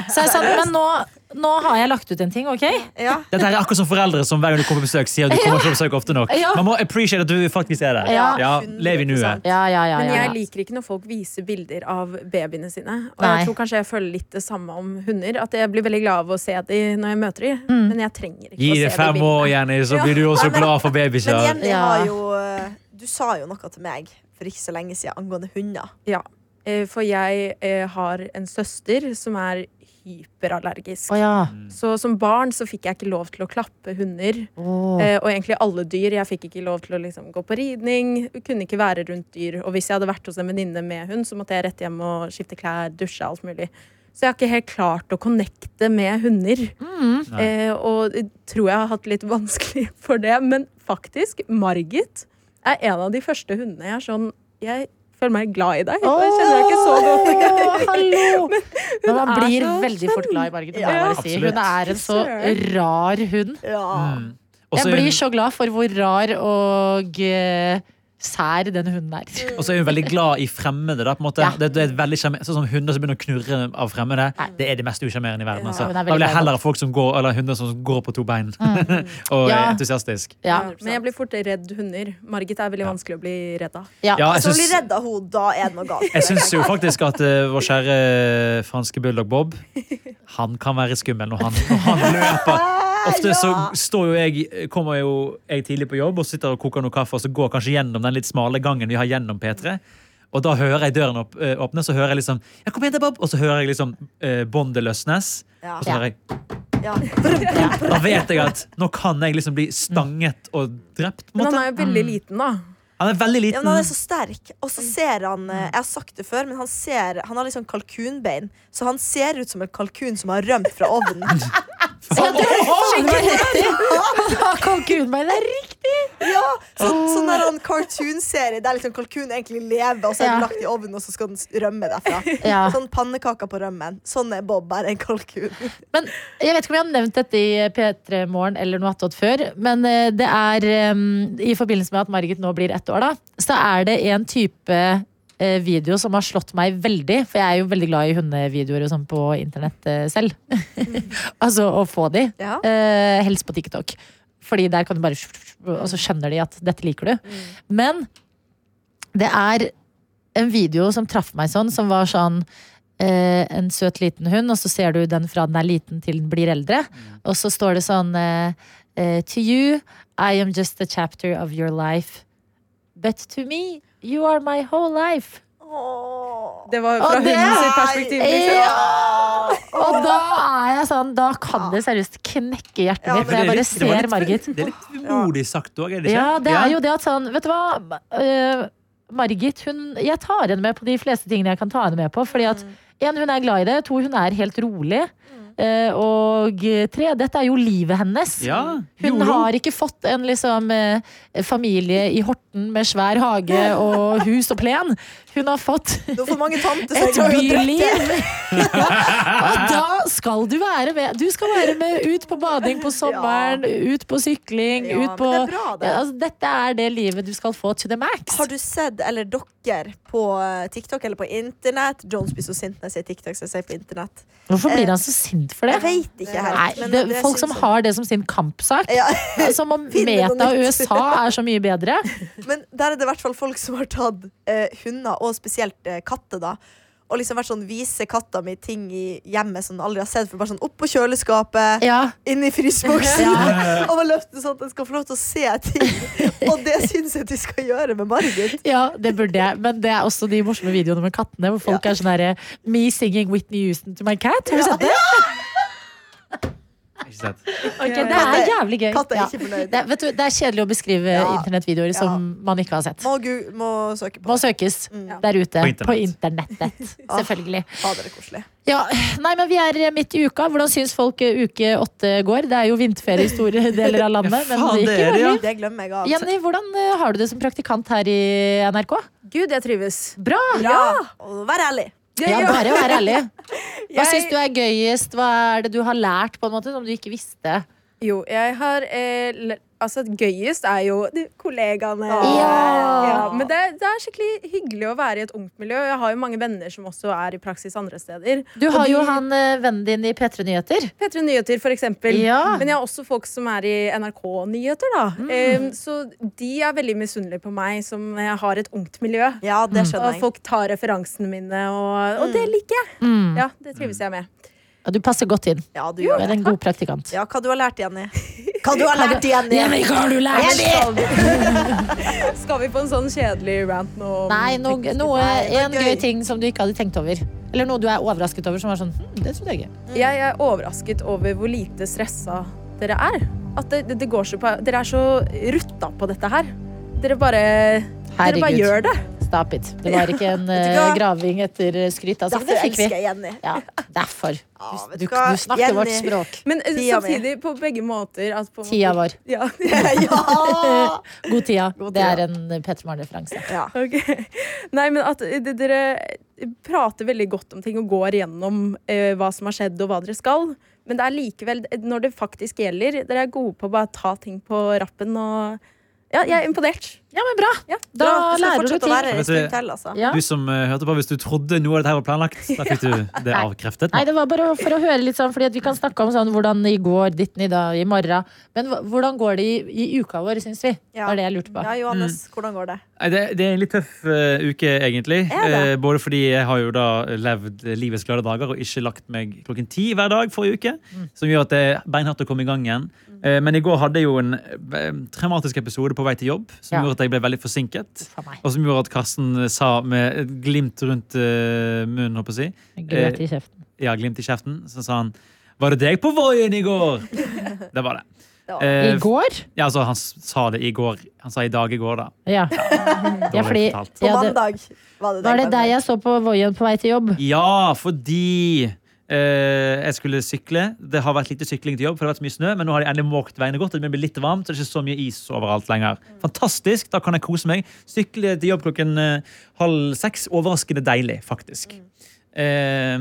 S2: så jeg sa men nå, nå har jeg lagt ut en ting, OK?
S4: Ja.
S3: Dette her er akkurat som foreldre som hver gang du kommer på besøk, sier at du kommer ikke på besøk ofte nok.
S2: Ja.
S3: Man må appreciate at du faktisk er der.
S2: Ja.
S3: lev i nuet.
S2: Ja, ja, ja.
S5: Men
S2: ja,
S5: jeg
S2: ja.
S5: liker ikke når folk viser bilder av babyene sine. Og
S2: Nei.
S5: jeg tror kanskje jeg føler litt det samme om hunder. At jeg blir veldig glad av å se dem når jeg møter dem.
S2: Mm.
S5: Men jeg trenger ikke
S3: Gi
S5: å
S3: det
S5: se de
S3: fem
S5: bildene.
S3: år, Jenny, så
S4: Ja.
S3: blir du også
S4: Nei, men-
S3: glad for
S4: Men
S3: babykjær.
S4: Jenny
S2: Ja.
S4: har jo eh, Du sa jo noe til meg for ikke så lenge siden angående hunder.
S5: Ja. Eh, For jeg eh, har en søster som er hyperallergisk.
S2: Å ja.
S5: Så som barn så fikk jeg ikke lov til å klappe hunder.
S3: Mm.
S2: Åh.
S5: Eh, og egentlig alle dyr. Jeg fikk ikke lov til å liksom, gå på ridning. Kunne ikke være rundt dyr. Og hvis jeg hadde vært hos en venninne med hund, så måtte jeg rett hjem og skifte klær, dusje, alt mulig. Så jeg har ikke helt klart å connecte med hunder.
S2: Mm.
S3: Nei.
S5: Eh, og jeg tror jeg har hatt litt vanskelig for det. Men faktisk, Margit er en av de første hundene jeg er sånn Jeg føler meg glad i deg. og Jeg kjenner deg ikke så godt.
S2: Åh, hallo! Men, man
S5: er
S2: blir
S5: så
S2: veldig fort glad i Margit. det må
S5: Ja.
S2: jeg bare si. Hun
S3: Absolutt.
S2: er en så rar hund.
S3: Mm.
S4: Ja.
S3: Og så
S2: Jeg
S3: er
S2: blir
S3: hun-
S2: så glad for hvor rar og eh, sær den hunden er.
S3: og så er hun veldig glad i fremmede. Da, på en måte.
S2: Ja.
S3: Det, det er et veldig sjarmer- Sånn som hunder som begynner å knurre av fremmede. Det er det mest usjarmerende i verden. Altså.
S2: hun er
S3: Da
S2: veldig glad i
S3: vil jeg
S2: Mm.
S3: heller ha folk som går, eller hunder som går på to bein og er
S2: Ja.
S3: entusiastisk.
S2: Ja,
S5: Men jeg blir fort redd hunder. Margit er veldig vanskelig å bli redd av.
S2: ja.
S3: Ja, jeg
S4: Hvis hun
S3: syns-
S4: blir redd av henne, da er det noe galt.
S3: Jeg syns jo faktisk at eh, vår kjære franske bulldog Bob Han kan være skummel når han, når han løper. Ofte så står jo jeg, kommer jo jeg tidlig på jobb og sitter og koker noe kaffe og så går jeg kanskje gjennom den litt smale gangen vi har gjennom P3. Og da hører jeg døren opp, eh, åpne, så hører jeg liksom ja, kom igjen da, Bob, Og så hører jeg liksom eh, båndet løsnes.
S4: Ja.
S3: Og så hører jeg,
S4: Ja.
S3: da vet jeg at nå kan jeg liksom bli stanget og drept. på en
S5: Men han
S3: måte.
S5: er jo veldig liten, da.
S3: Han er veldig
S4: Ja,
S3: liten.
S4: men han er så sterk. Og så ser han eh, Jeg har sagt det før, men han ser Han har liksom kalkunbein, så han ser ut som en kalkun som har rømt fra ovnen.
S2: Kalkunbein det er riktig!
S4: Ja, så, Sånn der han cartoon-serie der liksom kalkunen egentlig lever, og så er den
S2: Ja.
S4: lagt i ovnen, og så skal den s- rømme derfra.
S2: Ja.
S4: Sånn pannekaker på rømmen. Sånn er Bob, bare en kalkun.
S2: Men Jeg vet ikke om jeg har nevnt dette i P3 Morgen eller noe attåt før, men eh, det er eh, i forbindelse med at Margit nå blir ett år, da, så er det en type eh, video som har slått meg veldig, for jeg er jo veldig glad i hundevideoer og sånn på internett eh, selv. altså å få de.
S4: Ja.
S2: Eh, helst på TikTok. Fordi der kan du bare Og så skjønner de at dette liker du. Men det er en video som traff meg sånn, som var sånn eh, En søt liten hund, og så ser du den fra den er liten til den blir eldre. Og så står det sånn eh, eh, To you, I am just a chapter of your life. But to me, you are my whole life.
S4: Åh.
S5: Det var jo
S2: Og
S5: fra
S2: det-
S5: hundens perspektiv. Liksom.
S2: Ja! Og da er jeg sånn Da kan det seriøst knekke hjertet
S4: Ja,
S2: mitt
S4: men
S2: når jeg bare
S3: det var
S2: ser
S3: litt-
S2: Margit.
S3: Det er litt vemodig sagt òg, er det ikke?
S2: Ja, det er jo det at sånn Vet du hva? Eh, Margit, hun Jeg tar
S4: Mm.
S2: henne med på de fleste tingene jeg kan ta henne med på. Fordi at en, hun er glad i det. To, hun er helt rolig. Eh, og tre, dette er jo livet hennes.
S3: Ja,
S2: Hun
S3: Jolo.
S2: har ikke fått en liksom, eh, familie i Horten med svær hage og hus og plen. Hun har fått
S4: Det var for mange tanter som
S2: et
S4: går og
S2: byliv.
S4: drikker.
S2: og da skal du være med. Du skal være med ut på bading på sommeren, ut på sykling,
S4: Ja,
S2: ut på
S4: men det er bra, det.
S2: Ja, altså, Dette er det livet du skal få to the max.
S4: Har du sett, eller dere, på eh, TikTok eller på internett Jones blir så sint når jeg sier TikTok, så jeg sier på internett.
S2: Hvorfor blir han så sint for det?
S4: Eh, Jeg vet ikke helt.
S2: Nei,
S4: men
S2: det,
S4: det
S2: folk
S4: syns
S2: som
S4: jeg.
S2: har det som sin kampsak.
S4: ja,
S2: Som om
S4: Finne noe
S2: Meta og
S4: nytt.
S2: USA er så mye bedre.
S4: Men der er det i hvert fall folk som har tatt eh, hunder, og spesielt eh, katter, da. Og liksom vært sånn, vise katta mi ting i hjemmet som den aldri har sett. For bare sånn Opp på kjøleskapet,
S2: Ja.
S4: inn i fryseboksen.
S2: Ja.
S4: Og bare løfte sånn at den skal få lov til å se ting. Og det syns jeg at vi skal gjøre med Margit.
S2: Ja, det burde jeg. Men det er også de morsomme videoene med kattene hvor folk er sånn herre Me singing Whitney Houston to my cat. Har du sett det?
S3: Ikke sett.
S2: Ok,
S5: Ja, ja.
S2: det er jævlig gøy.
S4: Katt er
S2: Ja.
S4: ikke fornøyd.
S2: Det, er- vet du, det er kjedelig å beskrive
S4: Ja.
S2: internettvideoer
S4: Ja.
S2: som man ikke har sett.
S4: Må, gu, må søke på
S2: Må
S4: det.
S2: søkes
S4: Mm.
S2: der ute.
S3: På internett.
S2: På internettet, selvfølgelig.
S4: Fader, det er koselig.
S2: Ja, nei, men Vi er midt i uka. Hvordan syns folk eh, uke åtte går? Det er jo vinterferie i store deler av landet.
S3: Ja,
S2: men
S3: faen,
S2: det gikk
S3: det er
S2: jo
S3: det, ja.
S2: veldig.
S4: Det glemmer jeg av.
S2: Jenny, hvordan eh, har du det som praktikant her i NRK?
S5: Gud, jeg trives.
S2: Bra!
S4: Ja! Og Vær ærlig.
S2: Ja, bare å være ærlig. Hva
S5: Jeg-
S2: syns du er gøyest? Hva er det du har lært på en måte som du ikke visste?
S5: Jo, jeg har eh, lært- Altså, gøyest er jo de kollegaene.
S2: Ja.
S5: Ja, men det, det er skikkelig hyggelig å være i et ungt miljø. Jeg har jo mange venner som også er i praksis andre steder.
S2: Du
S5: Og
S2: har
S5: de-
S2: jo han eh, vennen din i P3 Nyheter.
S5: P3 Nyheter, for eksempel.
S2: Ja. Mm.
S5: Men jeg har også folk som er i NRK Nyheter, da. Eh, så de er veldig misunnelige på meg, som eh, har et ungt miljø.
S4: Ja, det
S2: Mm,
S4: skjønner
S5: Og
S4: jeg.
S5: folk tar referansene mine, og, og det liker jeg.
S2: Mm.
S5: Ja, Det trives jeg med.
S2: Ja, du passer godt inn.
S4: Ja, du
S2: Du
S4: gjør
S2: er
S4: det.
S2: en god praktikant.
S4: Ja, hva du har lært, Jenny? Hva du har lært, Jenny?
S2: hva har du
S4: Jenny!
S5: Skal vi på en sånn kjedelig rant nå? om
S2: Nei, no,
S5: tekniske-
S2: noe, en
S4: gøy.
S2: gøy ting som du ikke hadde tenkt over. Eller noe du er overrasket over. Som er sånn, hm, det trodde jeg ikke.
S5: Jeg er overrasket over hvor lite stressa dere er. At det, det, det går så på, dere er så rutta på dette her. Dere bare, dere bare
S2: Herregud.
S5: gjør det.
S2: Stop it. Det var ikke en
S4: du
S2: eh,
S4: hva?
S2: graving etter eh, skryt. Altså, men
S4: Derfor
S2: det fikk
S4: elsker
S2: vi.
S4: jeg Jenny.
S2: Ja, derfor.
S4: Ja,
S2: Du,
S4: vet
S2: du,
S4: du hva?
S2: du snakker vårt
S4: Jenny.
S2: språk.
S5: Men eh,
S4: Tida mi.
S5: samtidig på begge måter. At på en måte-
S2: Tida vår.
S5: Ja.
S4: Ja!
S2: God tida.
S4: God
S2: Det
S4: tida.
S2: er en eh, Petter Maren-referanse.
S4: ja.
S5: Ok. Nei, men at eh, d- dere prater veldig godt om ting og går gjennom eh, hva som har skjedd og hva dere skal. Men det er likevel, eh, når det faktisk gjelder, dere er gode på å bare ta ting på rappen og Ja, jeg er imponert.
S2: Ja, men bra.
S5: Ja.
S2: Da
S4: Bra, du skal
S2: lærer du
S4: fortsette å
S2: ting.
S4: være her en stund til, altså.
S2: Ja.
S3: Du som eh, hørte på, hvis du trodde noe av dette her var planlagt, da fikk du det avkreftet.
S2: Nei, det var bare for å høre litt sånn, fordi at vi kan snakke om sånn hvordan i går, ditten i dag, i morgen. Men hva- hvordan går det i, i uka vår, syns vi? Det
S4: Ja.
S2: var det jeg lurte på.
S4: Ja, Johannes, hvordan går det?
S3: Nei, Det, det er en litt tøff eh, uke, egentlig.
S4: det?
S3: Eh, både fordi jeg har jo da levd livets glade dager og ikke lagt meg klokken ti hver dag forrige uke. Som gjør at det er beinhardt å komme i gang igjen. Eh, men i går hadde jeg jo en eh, traumatisk episode på vei til jobb som
S2: Ja.
S3: gjorde at jeg ble veldig forsinket.
S2: For meg.
S3: Og som gjorde at Karsten sa med et glimt rundt eh, munnen, håper jeg å si.
S2: Grøt i kjeften.
S3: Ja, glimt i kjeften. Så sa han Var det deg på Voien i går? det var
S4: var
S3: det.
S2: I
S3: Eh,
S2: går?
S3: ja, altså, han s- sa det i går. Han sa i dag i går, da.
S2: Ja. ja,
S3: Dårlig
S2: fordi
S3: fortalt.
S4: På
S2: ja, det,
S4: mandag var det
S2: Var det deg jeg så på Voien på vei til jobb?
S3: Ja, fordi eh, jeg skulle sykle. Det har vært lite sykling til jobb, for det har vært så mye snø, men nå har de endelig måkt veiene godt. og Det begynner å bli litt varmt, så det er ikke så mye is overalt lenger. Fantastisk, da kan jeg kose meg. Sykle til jobb klokken eh, halv seks. Overraskende deilig, faktisk. Eh,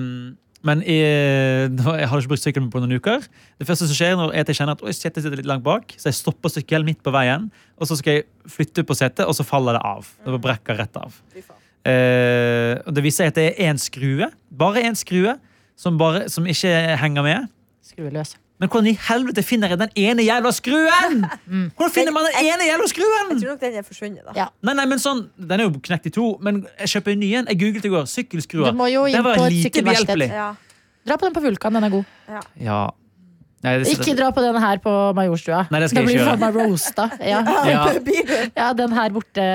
S3: men jeg, da, jeg har ikke brukt sykkelen min på noen uker. Det første som skjer når er at jeg kjenner at «Oi, setet sitter litt langt bak, så jeg stopper sykkelen midt på veien, og så skal jeg flytte på setet, og så faller det av. Det brekker rett av. Eh, og det viser seg at det er én skrue, bare én skrue, som, bare, som ikke henger med.
S2: Skrueløs.
S3: Men hvordan i helvete finner jeg den ene jævla skruen?! Hvordan finner man den ene jævla skruen?!
S4: Jeg tror nok den er forsvunnet, da.
S2: Ja.
S3: Nei, nei, men sånn, Den er jo knekt i to, men jeg kjøper en ny en. Jeg googlet i går. Sykkelskruer.
S2: Du må jo inn
S3: Det var
S2: på et
S3: lite
S2: sykkelverksted.
S3: behjelpelig.
S4: Ja.
S2: Dra på den på Vulkan, den er god.
S3: Ja. Nei, det,
S2: Ikke dra på den her på Majorstua.
S3: Nei, det
S2: da
S3: skal jeg
S2: blir
S3: ikke
S2: du
S3: gjøre.
S2: faen meg roasta. Ja.
S3: ja.
S2: ja, den her borte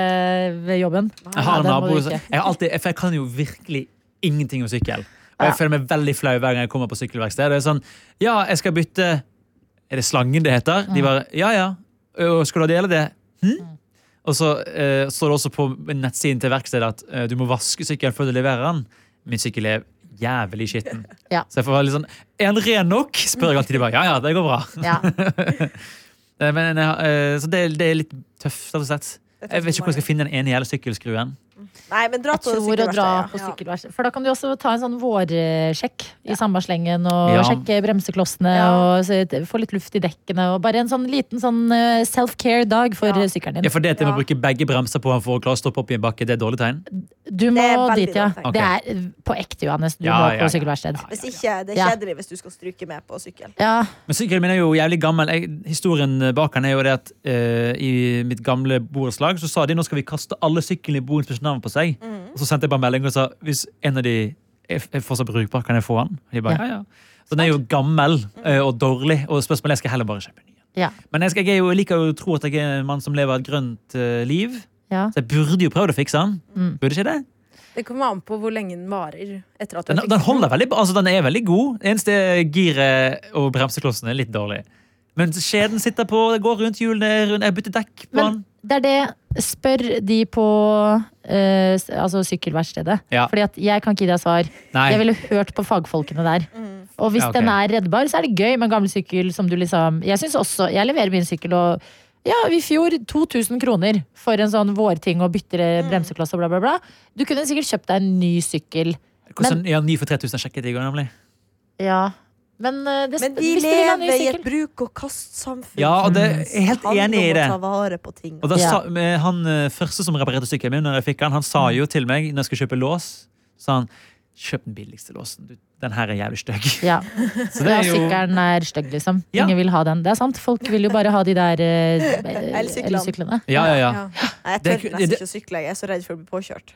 S2: ved jobben.
S3: Jeg har en
S2: den må
S3: nabo
S2: du
S3: som-
S2: ikke.
S3: jeg, har alltid, jeg- for jeg kan jo virkelig ingenting om sykkel. Og jeg føler meg veldig flau hver gang jeg kommer på sykkelverksted. Det er sånn, ja, jeg skal bytte Er det slangen det heter?
S2: Mm.
S3: De bare, ja, ja. «Ø, Skal du ha det eller det? Hm? Og så eh, står det også på nettsiden til verkstedet at eh, du må vaske sykkelen før du leverer den. Min sykkel er jævlig skitten.
S2: Ja.
S3: Så jeg får være litt sånn Er han ren nok? spør jeg alltid. De bare, ja, ja, det går bra.
S2: Ja.
S3: Eh, Men, jeg har- eh, så det, det er litt tøft, rett og slett. Jeg vet ikke hvor jeg skal finne den ene jævla sykkelskruen.
S4: Nei, men dra
S2: Jeg
S4: på
S2: tror å dra
S4: sykkelverkstedet.
S2: på sykkelverksted. For da kan du også ta en sånn vårsjekk i samme slengen. Og
S3: Ja.
S2: sjekke bremseklossene
S4: Ja.
S2: og se- få litt luft i dekkene. Og bare en sånn liten sånn eh, self-care-dag for
S4: Ja.
S2: eh, sykkelen
S3: Ja,
S2: din.
S3: for det at jeg må
S4: Ja.
S3: bruke begge bremser på han for å klare å stoppe opp i en bakke, det er dårlig tegn.
S2: Du må
S4: Det er veldig
S2: dit, ja.
S4: dårlig tegn.
S2: Det er eh, på ekte, Johannes. Du
S3: Ja,
S2: må på
S3: ja, ja.
S2: sykkelverksted.
S4: Hvis ikke, det er
S2: Ja.
S4: kjedelig hvis du skal stryke med på sykkel.
S2: Ja.
S3: Men sykkelen min er jo jævlig gammel. Jeg, historien bak den er jo det at eh, i mitt gamle borettslag så sa de nå skal vi kaste alle syklene i boens navn på seg.
S2: Mhm.
S3: Og så sendte jeg bare melding og sa hvis en av de er er fortsatt brukbar, kan jeg få den? Og De bare,
S2: Ja.
S3: ja, ja. Så den er jo gammel eh, og dårlig, og spørsmålet er skal jeg heller bare kjøpe en ny.
S2: Mhm. Ja.
S3: Men jeg, skal, jeg, er jo, jeg liker jo å tro at jeg er en mann som lever et grønt eh, liv,
S2: ja.
S3: så jeg burde jo prøvd å fikse den.
S2: Mm.
S3: Burde ikke det?
S5: Det kommer an på hvor lenge den varer. Etter at du
S3: Den,
S5: har
S3: den
S5: fikset
S3: holder veldig bra. Altså, den er veldig god. Eneste giret og bremseklossen er litt dårlig. Men skjeden sitter på, det går rundt hjulene. rundt- Jeg bytter dekk på den.
S2: Men det er det. Spør de på eh, s- altså sykkelverkstedet.
S3: Ja.
S2: Fordi at jeg kan ikke gi deg svar.
S3: Nei.
S2: Jeg ville hørt på fagfolkene der.
S4: Mm.
S2: Og hvis
S3: Ja, ok.
S2: den er reddbar, så er det gøy med en gammel sykkel som du liksom Jeg synes også, jeg leverer min sykkel og ja, i fjor 2000 kroner for en sånn vårting og bytter
S4: Mm.
S2: eh, bremsekloss og bla, bla, bla. Du kunne sikkert kjøpt deg en ny sykkel.
S3: Hvordan, ja, ny for 3000 sjekket jeg i går, nemlig.
S2: Ja. Men, eh, det,
S4: Men de
S2: hvis du vil ha en ny
S4: lever i
S2: sykkel-
S4: et bruk-og-kast-samfunn.
S3: Ja, og det, jeg er helt
S4: handler
S3: enig i
S4: om
S3: det.
S4: å Mm. ta vare på ting.
S3: Og da
S2: Ja.
S3: sa, med han eh, første som reparerte sykkelen min, når jeg fikk han, han sa
S2: Mm.
S3: jo til meg når jeg skulle kjøpe lås, sa han kjøp den billigste låsen. Du, den her er jævlig stygg.
S2: Ja.
S3: Så det er jo
S2: sykkelen er stygg, liksom.
S3: Ja.
S2: Ingen vil ha den. Det er sant. Folk vil jo bare ha de der eh, eh,
S4: Elsyklene.
S2: elsyklene.
S3: Ja, ja, ja.
S4: Nei, jeg
S3: Det er
S4: tør
S3: ku-
S4: nesten
S3: det-
S4: ikke å sykle. Jeg er så redd for å bli påkjørt.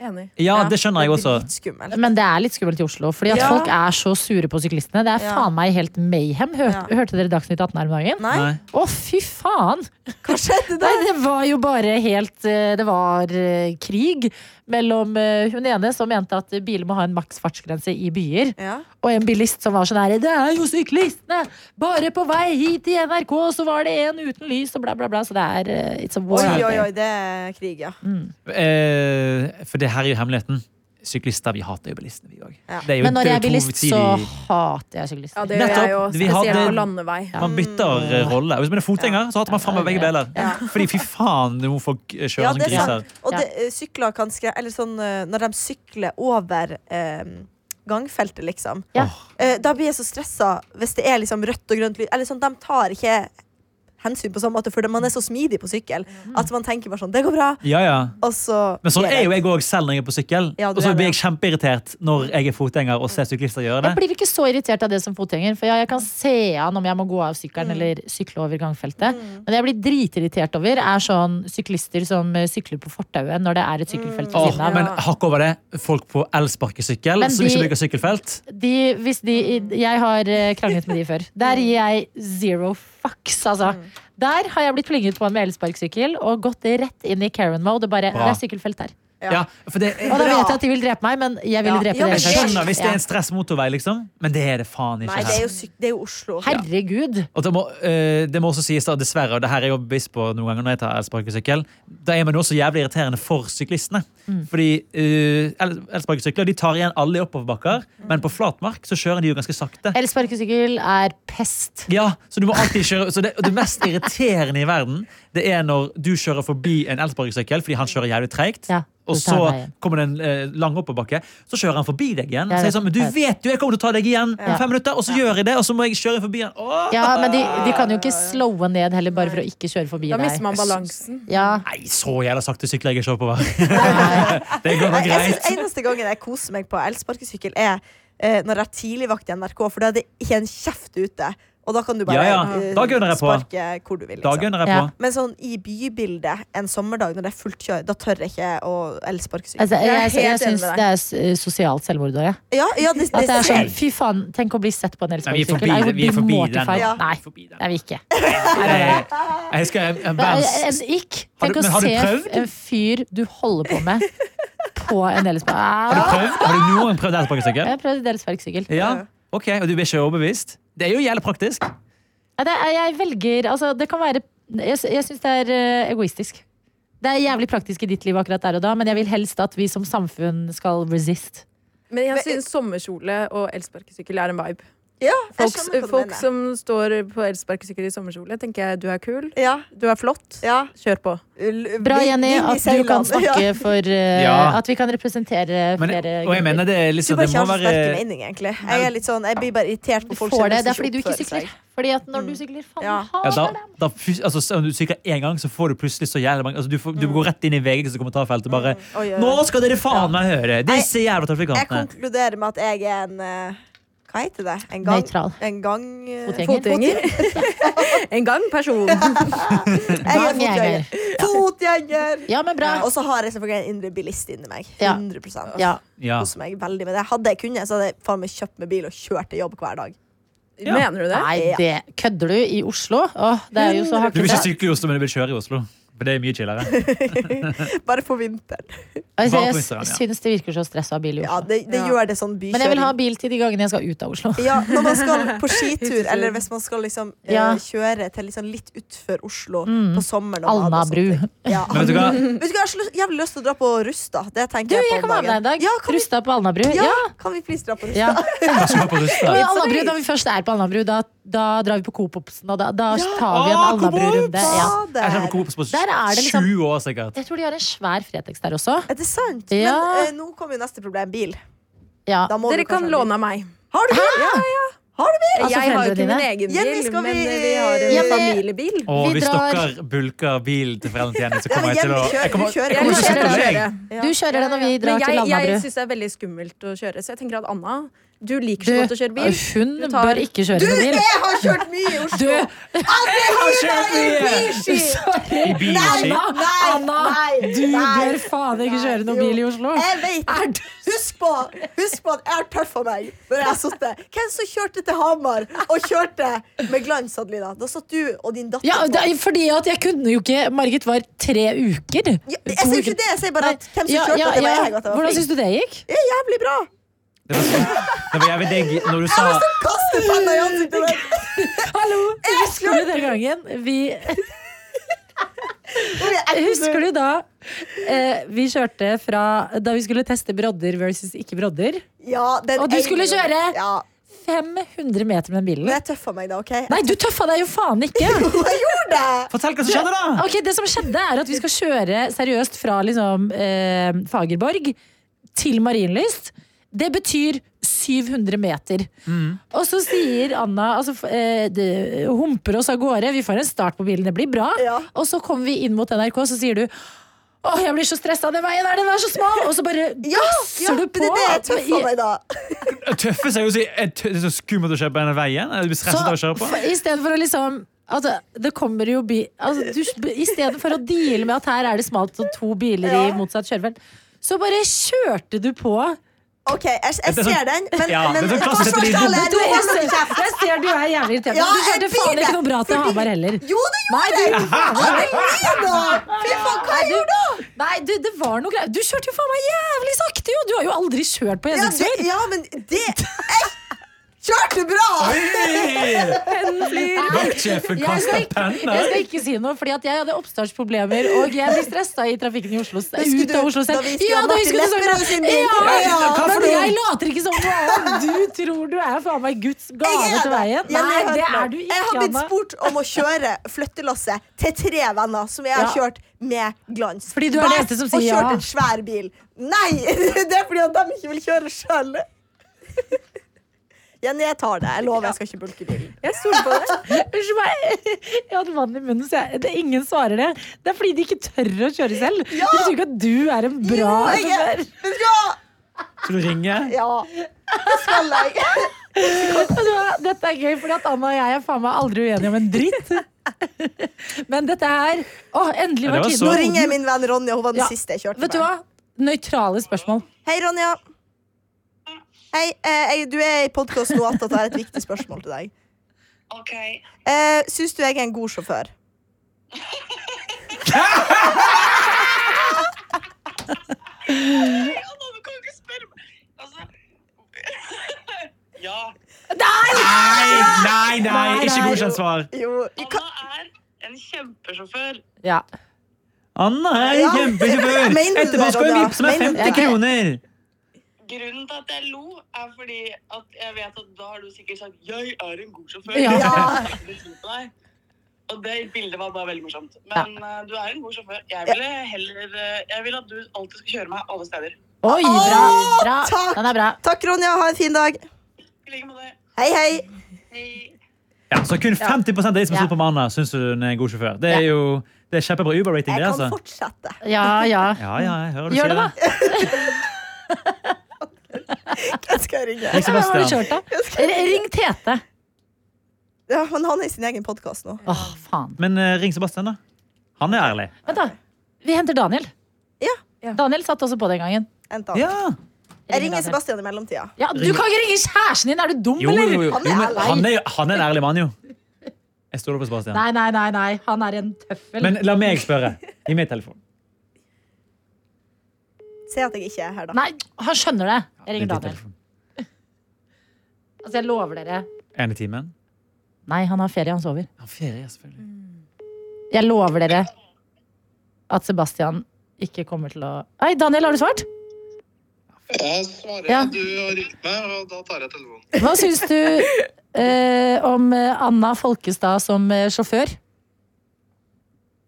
S5: Enig.
S3: Ja, det skjønner jeg
S4: Det
S3: også.
S4: blir litt skummelt.
S2: Men det er litt skummelt i Oslo, fordi at
S4: Ja.
S2: folk er så sure på syklistene. Det er
S4: Ja.
S2: faen meg helt mayhem. Hør,
S4: Ja.
S2: Hørte dere Dagsnytt 18 her om dagen?
S4: Nei,
S3: Nei.
S2: Å, fy faen!
S4: hva skjedde
S2: Nei,
S4: der?
S2: det var jo bare helt eh, Det var eh, krig mellom eh, hun ene som mente at biler må ha en maks fartsgrense i byer,
S4: Ja.
S2: og en bilist som var sånn her Det er jo syklistene! Bare på vei hit til NRK, så var det en uten lys, og bla, bla, bla. Så det er eh, It's a war.
S4: Oi,
S2: out
S4: oi,
S2: there.
S4: oi, det er krig, ja.
S3: Mm. Eh, for det her er jo hemmeligheten. Syklister, vi hater jo bilistene, vi òg.
S4: Ja.
S3: Det er jo-
S2: Men når
S3: det er
S2: jeg er
S3: jo to
S2: bilist, så
S3: sider i-
S2: hater jeg syklister.
S5: Ja, det gjør jeg jo.
S3: Nettopp. Vi har
S5: Spesielt
S3: det-
S5: på landevei.
S3: Man bytter eh,
S4: Mm.
S3: rolle. Hvis man er fotgjenger, så hater man fram med begge deler. Fordi fy faen, nå folk eh, kjører
S4: Ja,
S3: som
S4: det er
S3: griser.
S4: sant. Og
S2: Ja.
S4: det, eh, sykler kan skre... Eller sånn eh, når de sykler over eh, gangfeltet, liksom.
S2: Ja.
S4: Eh, da blir jeg så stressa hvis det er liksom rødt og grønt lyd. Eller sånn, de tar ikke hensyn på samme måte, for man er så smidig på sykkel
S2: Mhm.
S4: at man tenker bare sånn Det går bra.
S3: Ja, ja.
S4: Og så
S3: Men sånn
S4: blir
S3: er
S4: det-
S3: jo jeg òg selv når jeg er på sykkel.
S4: Ja, du
S3: og så
S4: er
S3: blir
S4: det.
S3: jeg kjempeirritert når jeg er fotgjenger og ser syklister gjøre
S2: Jeg
S3: det.
S2: blir ikke så irritert av det som fotgjenger, for ja, jeg kan se an om jeg må gå av
S3: Mm.
S2: sykkelen eller sykle over gangfeltet. Men det jeg blir dritirritert over, er sånn syklister som eh, sykler på fortauet når det er et sykkelfelt ved
S3: Mm. Åh,
S2: siden av.
S3: men hakk over det. Folk på elsparkesykkel
S2: Men
S3: som
S2: de-
S3: ikke bruker sykkelfelt.
S2: De, hvis de, jeg har eh, kranglet med de før.
S3: Mm.
S2: Der gir jeg zero fucks, altså. Der har jeg blitt plinget på med elsparkesykkel og gått rett inn i Karen-mode. og Bare,
S3: Bra.
S2: det er sykkelfelt der.
S4: Ja.
S3: Ja, for det
S2: Og da
S4: Bra.
S2: vet jeg at de vil drepe meg, men jeg vil
S4: Ja.
S2: drepe
S4: Ja, men
S2: dere.
S3: jeg
S4: det-
S3: skjønner hvis det er
S2: Ja.
S3: en stress motorvei, liksom. Men det er det faen
S4: Nei,
S3: ikke
S4: det er
S3: her.
S4: jo, syk, det er jo Oslo.
S2: Herregud.
S3: Og det, må, eh, det må også sies da, dessverre, og det her er jeg jo bevisst på noen ganger når jeg tar elsparkesykkel, da er man jo også jævlig irriterende for syklistene.
S2: Mm.
S3: Fordi eh, el elsparkesykler de tar igjen alle i oppoverbakker,
S2: Mm.
S3: men på flatmark så kjører de jo ganske sakte.
S2: Elsparkesykkel er pest.
S3: Ja, så du må alltid kjøre så det, og det mest irriterende i verden Det er når du kjører forbi en elsparkesykkel fordi han kjører jævlig treigt.
S2: Ja,
S3: Og
S2: du tar
S3: så
S2: meg igjen.
S3: kommer det en eh, lang oppoverbakke, så kjører han forbi deg igjen. Og
S2: Jeg
S3: sier
S2: vet,
S3: sånn, men du
S2: jeg
S3: vet jo jeg kommer til å ta deg igjen om fem minutter, og så gjør jeg det, og så må jeg kjøre forbi han. Åh!
S2: Ja, men de, de kan jo ikke slowe ned heller bare for å ikke kjøre forbi
S5: Da
S2: deg.
S5: mister man balansen.
S2: Ja,
S3: Nei, så jævla sakte sykler jeg ikke oppover.
S2: nei.
S3: Det går da
S4: Jeg, jeg
S3: greit.
S4: synes Eneste gangen jeg koser meg på elsparkesykkel, er eh, når jeg er tidligvakt i NRK, for da er det ikke en kjeft ute. Og da kan du bare
S3: Ja, ja.
S4: eh,
S3: Da gønner jeg på.
S4: sparke hvor du vil.
S3: Da
S4: Liksom.
S3: gønner jeg på.
S4: Men sånn i bybildet en sommerdag når det er fullt kjør, da tør jeg ikke å elsparkesykle.
S2: Altså, jeg jeg,
S5: Jeg er helt enig
S2: syns
S5: med deg.
S2: det er s- eh, sosialt selvmord òg, jeg.
S4: Ja, ja, det,
S2: At
S4: det
S2: det er sånn,
S4: ser-
S2: fy faen, tenk å bli sett på en
S3: Nei, vi er forbi
S2: elsparkesykkel. I
S3: det-
S2: would
S3: vi er
S2: be
S3: forbi
S2: mortified.
S4: den.
S2: Nei,
S3: Forbi
S2: det er vi ikke.
S3: Jeg, jeg husker jeg, jeg,
S2: Det
S3: verdens-
S2: er En ikk.
S3: Har du-
S2: Tenk å
S3: men har du
S2: se
S3: prøvd?
S2: en fyr du holder på med, på en
S3: Har du
S2: elsparkesykkel.
S3: prøvd? Har du noen prøvd elsparkesykkel?
S2: Jeg har prøvd elsparkesykkel.
S3: Ja. Ok, og du blir ikke overbevist? Det er jo jævlig praktisk.
S2: Ja, det er- Jeg velger Altså, det kan være Jeg, sy- jeg syns det er eh, egoistisk. Det er jævlig praktisk i ditt liv akkurat der og da, men jeg vil helst at vi som samfunn skal resist.
S5: Men jeg
S4: Men-
S5: synes sommerkjole og elsparkesykkel er en vibe.
S4: Ja, jeg
S5: Folk,
S4: skjønner hva du
S5: folk
S4: mener.
S5: som står på elsparkesykkel i sommerkjole, tenker jeg du er kul,
S4: Ja,
S5: du er flott,
S4: ja.
S5: kjør på.
S4: L-
S2: Bra,
S4: ving-
S2: Jenny,
S4: ving i
S2: at du kan
S4: seilene.
S2: snakke for eh,
S3: Ja.
S2: At vi kan representere
S3: Men,
S2: flere
S3: og jeg mener det er
S4: Du
S3: liksom
S4: bare
S3: Det
S4: ikke
S3: må
S4: har så
S3: være
S4: sterke meninger, egentlig. Jeg, er litt sånn, jeg blir bare irritert på
S2: Du
S4: folk
S2: får
S4: som
S2: det, det
S4: liksom
S2: er fordi du ikke
S4: oppfører seg. Mm.
S2: sykler. Fordi at når du sykler, faen
S4: Ja.
S3: ja, da,
S2: hater det.
S3: da, fys- altså, så- Om du sykler én gang, så får du plutselig så jævlig mange altså, du, får, du går rett inn i VGs kommentarfelt og bare
S4: Oi, oi, oi.
S3: Nå skal dere faen meg høre! Disse jævla
S4: Jeg
S3: trafikantene.
S4: konkluderer med at jeg er en eh, Hva heter det? En gang...
S2: Nøytral.
S4: En gang... eh,
S2: Fotgjenger.
S5: Fotgjenger. en gang person.
S4: Jeg er
S2: Gangjeger.
S4: fotgjenger. Fotgjenger!
S2: Ja, men bra.
S4: Og så har jeg selvfølgelig en indre bilist inni meg.
S2: Ja.
S4: 100
S2: Ja.
S3: Ja.
S4: Koser meg veldig med det. Hadde jeg kunnet, så hadde jeg faen meg kjøpt meg bil og kjørt til jobb hver dag.
S3: Ja.
S5: Mener du det?
S2: Nei, det kødder du i Oslo? Åh, det er jo så
S3: Du vil ikke
S2: hakkete.
S3: sykle i Oslo, men du vil kjøre i Oslo. For det er mye chillere.
S4: Bare for vinteren.
S2: Altså,
S3: Bare på
S2: jeg
S3: Instagram, ja.
S2: syns det virker så stress å ha bil i
S4: Ja,
S2: Oslo.
S4: det, det
S5: Ja.
S4: gjør det sånn bykjøring.
S2: Men jeg vil ha bil til de gangene jeg skal ut av Oslo.
S4: Ja, når man skal på skitur, eller hvis man skal liksom eh,
S2: Ja.
S4: kjøre til liksom litt utfor Oslo
S2: Mm.
S4: på sommeren. og bade og sånne
S2: Alnabru.
S4: ting. Ja.
S3: Men vet du hva?
S4: Vet du hva, Jeg har så lyst- jævlig lyst til å dra på Rusta. Det tenker
S2: Du,
S4: jeg på
S2: jeg
S4: om
S2: kan være med deg en dag.
S4: Ja, kan vi,
S2: Rusta på Alnabru.
S4: ja, sånn-
S2: Ja.
S4: kan vi please dra på Rusta?
S2: ja.
S3: Jeg skal på Rusta.
S2: Men Alnabru, da vi først er på Alnabru, da, da drar vi på Coop-Obsen, og da, da tar vi en
S3: Ah,
S2: Alnabru-runde. Ja.
S4: Fader.
S3: Jeg har vært på Coop på
S2: Der er det liksom-
S3: sju år, sikkert.
S2: Jeg tror de har en svær Fretex der også.
S4: Er det sant?
S2: Ja.
S4: Men eh, nå kommer jo neste problem. Bil.
S2: Ja.
S4: Da må
S5: Dere
S4: du kanskje
S5: kan
S4: ha bil.
S5: låne av meg.
S4: Har du bil? Ja, ja. Har du bil?
S2: Altså,
S5: jeg har jo
S2: foreldrene
S5: ikke min
S2: dine?
S5: egen bil,
S4: Jenny, skal
S5: men
S4: vi-
S5: eh, vi har en
S2: Jenny-
S5: familiebil.
S3: Og
S2: Vi
S3: hvis
S2: drar-
S3: dere bulker bilen til foreldrene til Jenny, så
S4: Ja,
S3: kommer jeg til å
S4: Jenny, kjør-
S3: jeg kommer,
S4: du kjører.
S3: jeg kommer
S2: Jeg
S3: til å sette
S2: kjører.
S3: deg.
S2: Du kjører det når vi drar
S5: Men
S2: til
S5: jeg, jeg
S2: Alnabru.
S5: syns det er veldig skummelt å kjøre, så jeg tenker at Anna, du liker
S2: Du,
S5: så godt å kjøre bil.
S2: hun
S5: Du tar-
S2: bør ikke kjøre med bil.
S4: Jeg har kjørt mye i Oslo!
S2: Du,
S3: I bilen sin.
S2: Anna, Anna,
S4: nei,
S2: du
S4: nei,
S2: bør faen ikke kjøre noen
S4: jo.
S2: bil i Oslo.
S4: Jeg vet Husk på, husk på at jeg har tøffa meg når jeg har sittet. Hvem som kjørte til Hamar og kjørte med glans, Adelina? Da satt du og din datter
S2: Ja,
S4: på.
S2: det er fordi at jeg kunne jo ikke Margit var tre uker.
S4: Ja, jeg sier jo ikke det, jeg sier bare at hvem som
S2: Ja,
S4: kjørte,
S2: ja,
S4: det var
S2: ja.
S4: jeg. og At jeg var
S2: Hvordan
S4: flink.
S2: syns du det gikk?
S4: Det er jævlig bra!
S3: Det var det var jævlig digg når du sa
S4: Kaste penna i ansiktet der.
S2: Hallo! Husker du den gangen vi Husker du da eh, vi kjørte fra Da vi skulle teste brodder versus ikke brodder?
S4: Ja, den
S2: Og du
S4: ene-
S2: skulle kjøre?
S4: Ja,
S2: 500 meter med den
S4: men
S2: bilen.
S4: jeg tøffa meg da, OK? Jeg
S2: Nei, du tøffa deg jo faen ikke!
S4: gjorde det!
S3: Fortell hva som skjedde, da!
S2: Ok, Det som skjedde, er at vi skal kjøre seriøst fra liksom, eh, Fagerborg til Marienlyst. Det betyr 700 meter.
S4: Mm.
S2: Og så sier Anna altså, f- eh, det, Humper oss av gårde. Vi får en start på bilen, det blir bra.
S4: Ja.
S2: Og så kommer vi inn mot NRK, så sier du Åh, jeg blir så stressa av den veien der, den er så smal! Og så bare
S4: Ja, ja
S2: gasser du
S4: men
S2: på.
S4: det er det jeg tøffa meg da.
S3: Tøffe seg jo å si er tø- Det er så skummelt å kjøre på denne veien. Jeg blir stresset av å kjøre på.
S2: f- i stedet for å liksom Altså, det kommer jo bi... Altså, du, I stedet for å deale med at her er det smalt og to biler i
S4: Ja.
S2: motsatt kjørefelt, så bare kjørte du på.
S4: OK, jeg, jeg
S3: er sånn-
S4: ser den, men,
S3: Ja,
S4: men
S3: det er sånn klassisk
S4: forsvarstale,
S2: Jeg,
S4: nå holder dere
S2: ser, jeg ser du er jævlig irritert.
S4: Ja,
S2: men du
S4: jeg
S2: kjørte faen
S4: blir
S2: ikke
S4: det,
S2: noe bra til
S4: fordi-
S2: Hamar heller.
S4: sånn, Jo, det gjorde jeg! Adelina! Fy faen, hva jeg gjorde da?
S2: Nei, du, det var noe greier. Du kjørte jo faen meg jævlig sakte, jo! Du har jo aldri kjørt på
S4: Ja, det,
S2: Henningsfjord.
S4: ja, men det Jeg kjørte bra!
S3: Vaktsjefen
S2: Jeg skal,
S3: kaster
S2: ikke, jeg
S3: penner.
S2: skal ikke si noe, fordi at jeg hadde oppstartsproblemer. Og jeg ble stressa i trafikken i Oslo.
S4: Husker
S2: Ut
S4: du
S2: av Oslo
S4: da
S2: selv.
S4: vi skulle ha Martin
S2: Ja, da husker du
S4: Lepperød sin
S2: sangen!
S4: bil?
S2: Ja,
S4: Ja,
S3: hva
S2: men
S3: for noe?
S2: jeg later ikke som noe annet. Du tror du er faen meg Guds gave til veien.
S4: Jenny,
S2: Nei,
S4: hør
S2: det
S4: nå.
S2: er du
S4: Jeg har
S2: ikke,
S4: blitt
S2: Anna.
S4: spurt om å kjøre flyttelasset til tre venner som jeg har
S2: Ja.
S4: kjørt med glans.
S2: Fordi du er den
S4: Hver-
S2: eneste som sier
S4: Og
S2: ja.
S4: kjørt en svær bil. Nei! Det er fordi at de ikke vil kjøre sjøl. Jenny, jeg tar det. Jeg lover, jeg skal ikke bulke bilen.
S5: Jeg stoler på det.
S2: Unnskyld meg. Jeg hadde vann i munnen, så jeg, det, ingen svarer det. Det er fordi de ikke tør å kjøre selv. De tror ikke at du er en bra
S4: Jo, jeg er-
S2: sjåfør.
S4: Vet du hva?
S3: Skal du ringe?
S4: Ja. Det skal jeg.
S2: Vet du hva? Dette er gøy, fordi at Anna og jeg er faen meg aldri uenige om en dritt. Men dette her Å, endelig
S3: Ja,
S2: var
S3: det var
S2: tiden
S3: så-
S4: Nå
S2: over.
S4: ringer jeg min venn Ronja. Hun var den
S2: Ja.
S4: siste jeg kjørte
S2: Vet du hva? Nøytrale spørsmål.
S4: Hei, Ronja. Hei, eh, jeg, du er i podkast nå at jeg har et viktig spørsmål til deg.
S7: Ok.
S4: Eh, Syns du jeg er en god sjåfør?
S7: Ja, nå, du kan jo ikke spørre meg. Altså Ja.
S3: Nei, nei, nei! Ikke godkjent svar.
S4: Jo.
S7: Anna er en kjempesjåfør.
S2: Ja.
S3: Anna er
S4: Ja.
S3: kjempesjåfør!
S4: Mener du det,
S3: Etterpå skal hun
S4: Ronja?
S3: vippse meg
S4: Mener du
S3: 50
S4: det?
S3: kroner!
S7: Grunnen til at jeg lo, er fordi at jeg vet at da har du sikkert sagt 'jeg er en god sjåfør'.
S2: Ja.
S7: Jeg kan ikke tro på deg. Og det bildet var bare veldig morsomt. Men eh, du er en god sjåfør. Jeg ville heller eh, Jeg vil at du alltid skal kjøre meg alle steder.
S2: Oi, bra!
S4: Åh,
S2: bra.
S4: takk!
S2: Den er bra.
S4: Takk, Ronja. Ha en fin dag.
S7: I like måte.
S4: Hei, hei.
S7: Hei.
S3: Ja, så kun 50 av de som
S2: Ja.
S3: står på med Anna, syns hun er en god sjåfør. Det er jo det er kjempebra Uber-rating,
S4: Jeg
S3: det,
S4: kan
S3: altså.
S4: fortsette.
S2: Ja, ja.
S3: Ja, ja, jeg hører du
S2: Gjør
S3: sier
S2: det, da.
S4: Jeg skal ringe.
S3: Ring
S2: Hva har du
S3: Sebastian.
S2: kjørt, da? R- Ring Tete.
S4: Ja, men han er i sin egen podkast nå.
S2: Åh, faen.
S3: Men eh, ring Sebastian, da. Han er ærlig.
S2: Vent, da. Vi henter Daniel.
S4: Ja.
S2: Daniel satt også på den gangen.
S4: En annen.
S3: Ja.
S4: Jeg ringer
S2: Daniel.
S4: Sebastian i mellomtida.
S2: Ja, Du kan ikke ringe kjæresten din! Er du dum,
S3: Jo, jo,
S2: eller?
S3: jo. jo
S4: Han er
S3: men,
S4: ærlig.
S3: han, er, jo- han er en ærlig mann, jo. Jeg stoler på Sebastian.
S2: Nei, nei, nei, nei. Han er en tøffel.
S3: Men la meg spørre. Gi meg telefonen.
S4: Se at jeg ikke er her, da.
S2: Nei, han skjønner det. Jeg
S3: Gi
S2: ringer
S3: meg
S2: Daniel.
S3: telefonen.
S2: Altså, jeg lover dere.
S3: En i timen.
S2: Nei, han har ferie. Han sover.
S3: Han ferie, selvfølgelig.
S2: Jeg lover dere at Sebastian ikke kommer til å Hei, Daniel, har du svart?
S8: Jeg svarer
S2: Ja.
S8: at du har ringt meg, og da tar jeg telefonen.
S2: Hva syns du eh, om eh, Anna Folkestad som eh, sjåfør?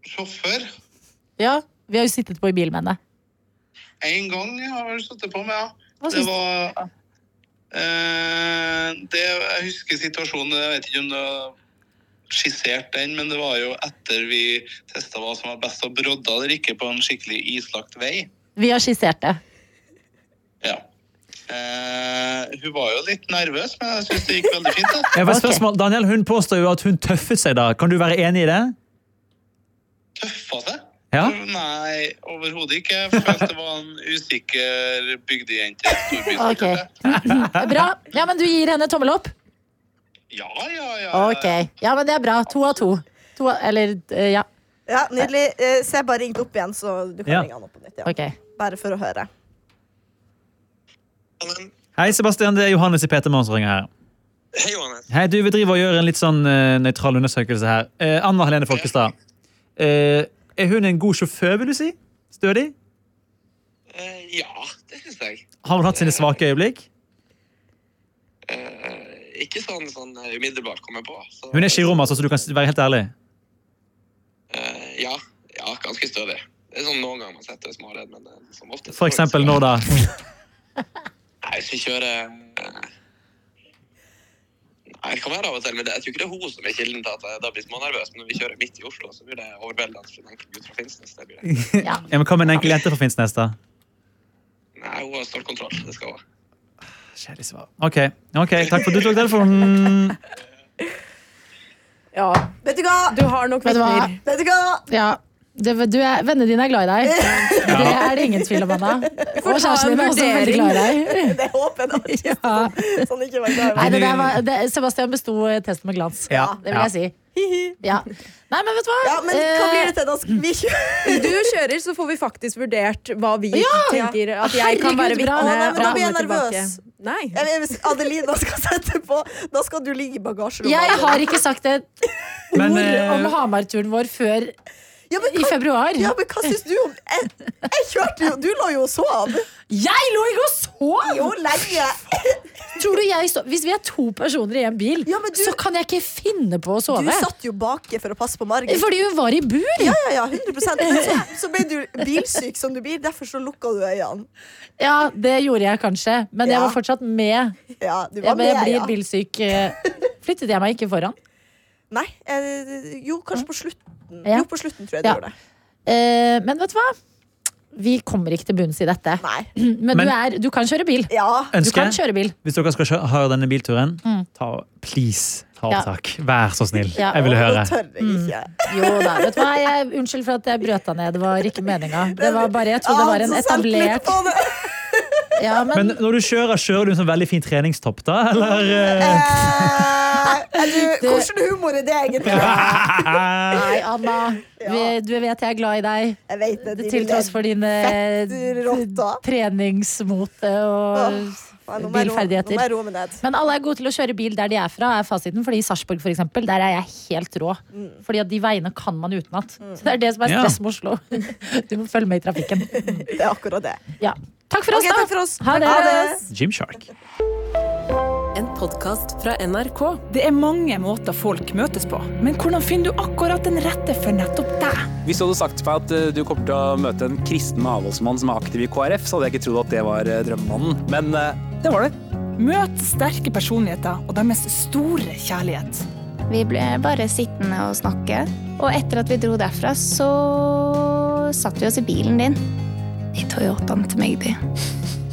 S8: Sjåfør?
S2: Ja, vi har jo sittet på i bil med henne.
S8: En gang jeg har vel sittet på med, ja.
S2: Hva
S8: Det
S2: syns du?
S8: var eh, det, Jeg husker situasjonen, jeg vet ikke om du har skissert den, men det var jo etter vi testa hva som var best å brodde eller ikke på en skikkelig islagt vei.
S2: Vi har skissert det.
S8: Ja. Eh, hun var jo litt nervøs, men jeg syns det gikk veldig fint. da.
S3: Jeg har et
S2: Ok.
S3: spørsmål. Daniel, hun påstår jo at hun tøffet seg da. Kan du være enig i det?
S8: Tøffa seg.
S3: Ja?
S8: Nei, overhodet ikke. Jeg følte det var en usikker bygdejente.
S2: Ok. Bra. Ja, men du gir henne tommel opp?
S8: Ja, ja, ja.
S2: Ok. Ja, men det er bra. To av to. to av, eller eh, ja.
S4: Ja, Nydelig. Eh, Se, jeg bare ringte opp igjen, så du kan
S3: Ja.
S4: ringe han opp på nytt. Ja.
S2: Ok.
S4: Bare for å høre.
S3: Hei, Sebastian. Det er Johannes i PT Morgen som ringer her.
S8: Hei, Johannes.
S3: Hei, du, vi driver og gjør en litt sånn eh, nøytral undersøkelse her. Eh, Anna Helene Folkestad. Eh, er hun en god sjåfør, vil du si? Stødig?
S8: Eh, ja, det syns jeg.
S3: Har hun hatt sine svake øyeblikk?
S8: Eh, ikke sånn, sånn umiddelbart kommer jeg på. Så,
S3: Hun er ikke i rommet, altså, så du kan s- være helt ærlig.
S8: Eh, ja, ja, ganske stødig. Det er sånn noen ganger man setter småledd, men eh, som oftest
S3: For eksempel nå, da.
S8: Nei, hvis vi kjører eh, Nei, det kan være av og til, men det, jeg tror ikke det er hun som er kilden til at jeg da blir smånervøs. Men når vi kjører midt i Oslo, så blir det overveldende for en enkel gutt fra Finnsnes. Det blir det.
S2: Ja.
S3: Ja, men Hva med en enkel jente fra Finnsnes, da?
S8: Nei, hun har stålkontroll. Det skal hun ha.
S3: Kjedelig svar. OK, ok, takk for at du tok telefonen.
S5: Ja,
S4: Vet du hva?
S5: du har nok
S2: Vet du hva?
S5: vitner.
S4: Vet du hva?
S2: ja. Det, du er, vennene dine er glad i deg. Det er det ingen tvil om, Anna. Og
S5: ta
S2: kjæresten
S5: en
S2: din er også veldig
S5: vurdering.
S2: glad i deg.
S4: Det håper jeg da.
S2: Ja.
S4: Sånn ikke var glad i
S2: Nei,
S4: meg.
S2: det der var, det, Sebastian besto eh, testen med glans.
S3: Ja.
S2: Det vil jeg si. Ja. Nei, men vet du hva?
S4: Ja, men hva blir det til da? Skal
S2: Eh.
S4: Vi kjører.
S5: Du kjører, så får vi faktisk vurdert hva vi tenker at jeg
S2: Herregud,
S5: kan være
S2: bra.
S5: vitne.
S2: Å, nei,
S4: men da
S5: og
S4: blir jeg
S5: komme tilbake.
S4: nervøs.
S5: Nei.
S4: Jeg mener, Hvis Adelina skal sette på, da skal du ligge i bagasjerommet.
S2: Eh, Jeg har ikke sagt et
S3: Men,
S2: ord
S3: eh,
S2: om Hamar-turen vår før
S4: ja, men,
S2: i
S4: hva,
S2: februar.
S4: ja, men hva syns du om jeg, jeg kjørte jo Du lå jo og sov.
S2: Jeg lå ikke og sov!
S4: Jo, lenge.
S2: Tror du jeg så, hvis vi er to personer i en bil,
S4: Ja, men du-
S2: så kan jeg ikke finne på å
S4: Du
S2: sove.
S4: satt jo baki for å passe på Margit.
S2: Fordi hun var i bur!
S4: Ja, ja, ja, 100 Men så, så ble du bilsyk som du blir, derfor så lukka du øynene.
S2: Ja, det gjorde jeg kanskje, men jeg
S4: Ja.
S2: var fortsatt med.
S4: Ja, du var
S2: Jeg, men jeg
S4: med,
S2: blir
S4: ja.
S2: bilsyk. eh, Flyttet jeg meg ikke foran?
S4: Nei, eh, jo, kanskje på slutten.
S2: Ja.
S4: Jo, på slutten tror jeg du
S2: Ja.
S4: gjorde det.
S2: Eh, men vet du hva? Vi kommer ikke til bunns i dette.
S4: Nei.
S2: Men,
S3: Men-
S2: du, er, du kan kjøre bil.
S4: Ja.
S2: Du
S3: Ønske,
S2: kan kjøre bil.
S3: hvis dere skal kjø- ha denne bilturen, ta, please ta
S2: Ja.
S3: opptak. Vær så snill.
S2: Ja.
S3: Jeg ville høre.
S4: Nå tør jeg
S2: Mm.
S4: ikke.
S2: Jo da, vet du hva? Jeg, unnskyld for at jeg brøt deg ned. Det var ikke meninga. Det var bare, jeg trodde det var en
S4: Ja, Ah, så sent litt
S2: etablert
S4: på det.
S2: ja, men,
S3: Men når du kjører, kjører du en sånn veldig fin treningstopp, da? Eller?
S4: Eh, er du, Hvordan humor er det egentlig?
S3: eh?
S2: Nei, Anna. vi- Du vet jeg er glad i deg.
S4: Jeg vet det. de
S2: Til tross for dine eh,
S4: Fett rotta.
S2: treningsmote og
S4: Nei, nå må jeg roe- Nå må
S2: bilferdigheter.
S4: jeg roe meg ned.
S2: Men alle er gode til å kjøre bil der de er fra, er fasiten. Fordi i Sarpsborg, for eksempel, der er jeg helt rå.
S4: Mm.
S2: Fordi at de veiene kan man utenat. Så det er det som er
S3: Ja.
S2: stress med Oslo. Du må følge med i trafikken.
S4: Det er akkurat det.
S2: Ja. Takk for oss,
S4: Ok,
S2: da.
S4: takk for oss.
S2: Ha det.
S3: Gymshark.
S5: En podkast fra NRK.
S7: Det er mange måter folk møtes på, men hvordan finner du akkurat den rette for nettopp deg?
S9: Hvis du hadde sagt til meg at eh, du kommer til å møte en kristen avholdsmann som er aktiv i KrF, så hadde jeg ikke trodd at det var eh, drømmemannen. Men eh, det var det.
S7: Møt sterke personligheter og deres store kjærlighet.
S10: Vi ble bare sittende og snakke. Og etter at vi dro derfra, så satt vi oss i bilen din. I Toyotaen til meg, de.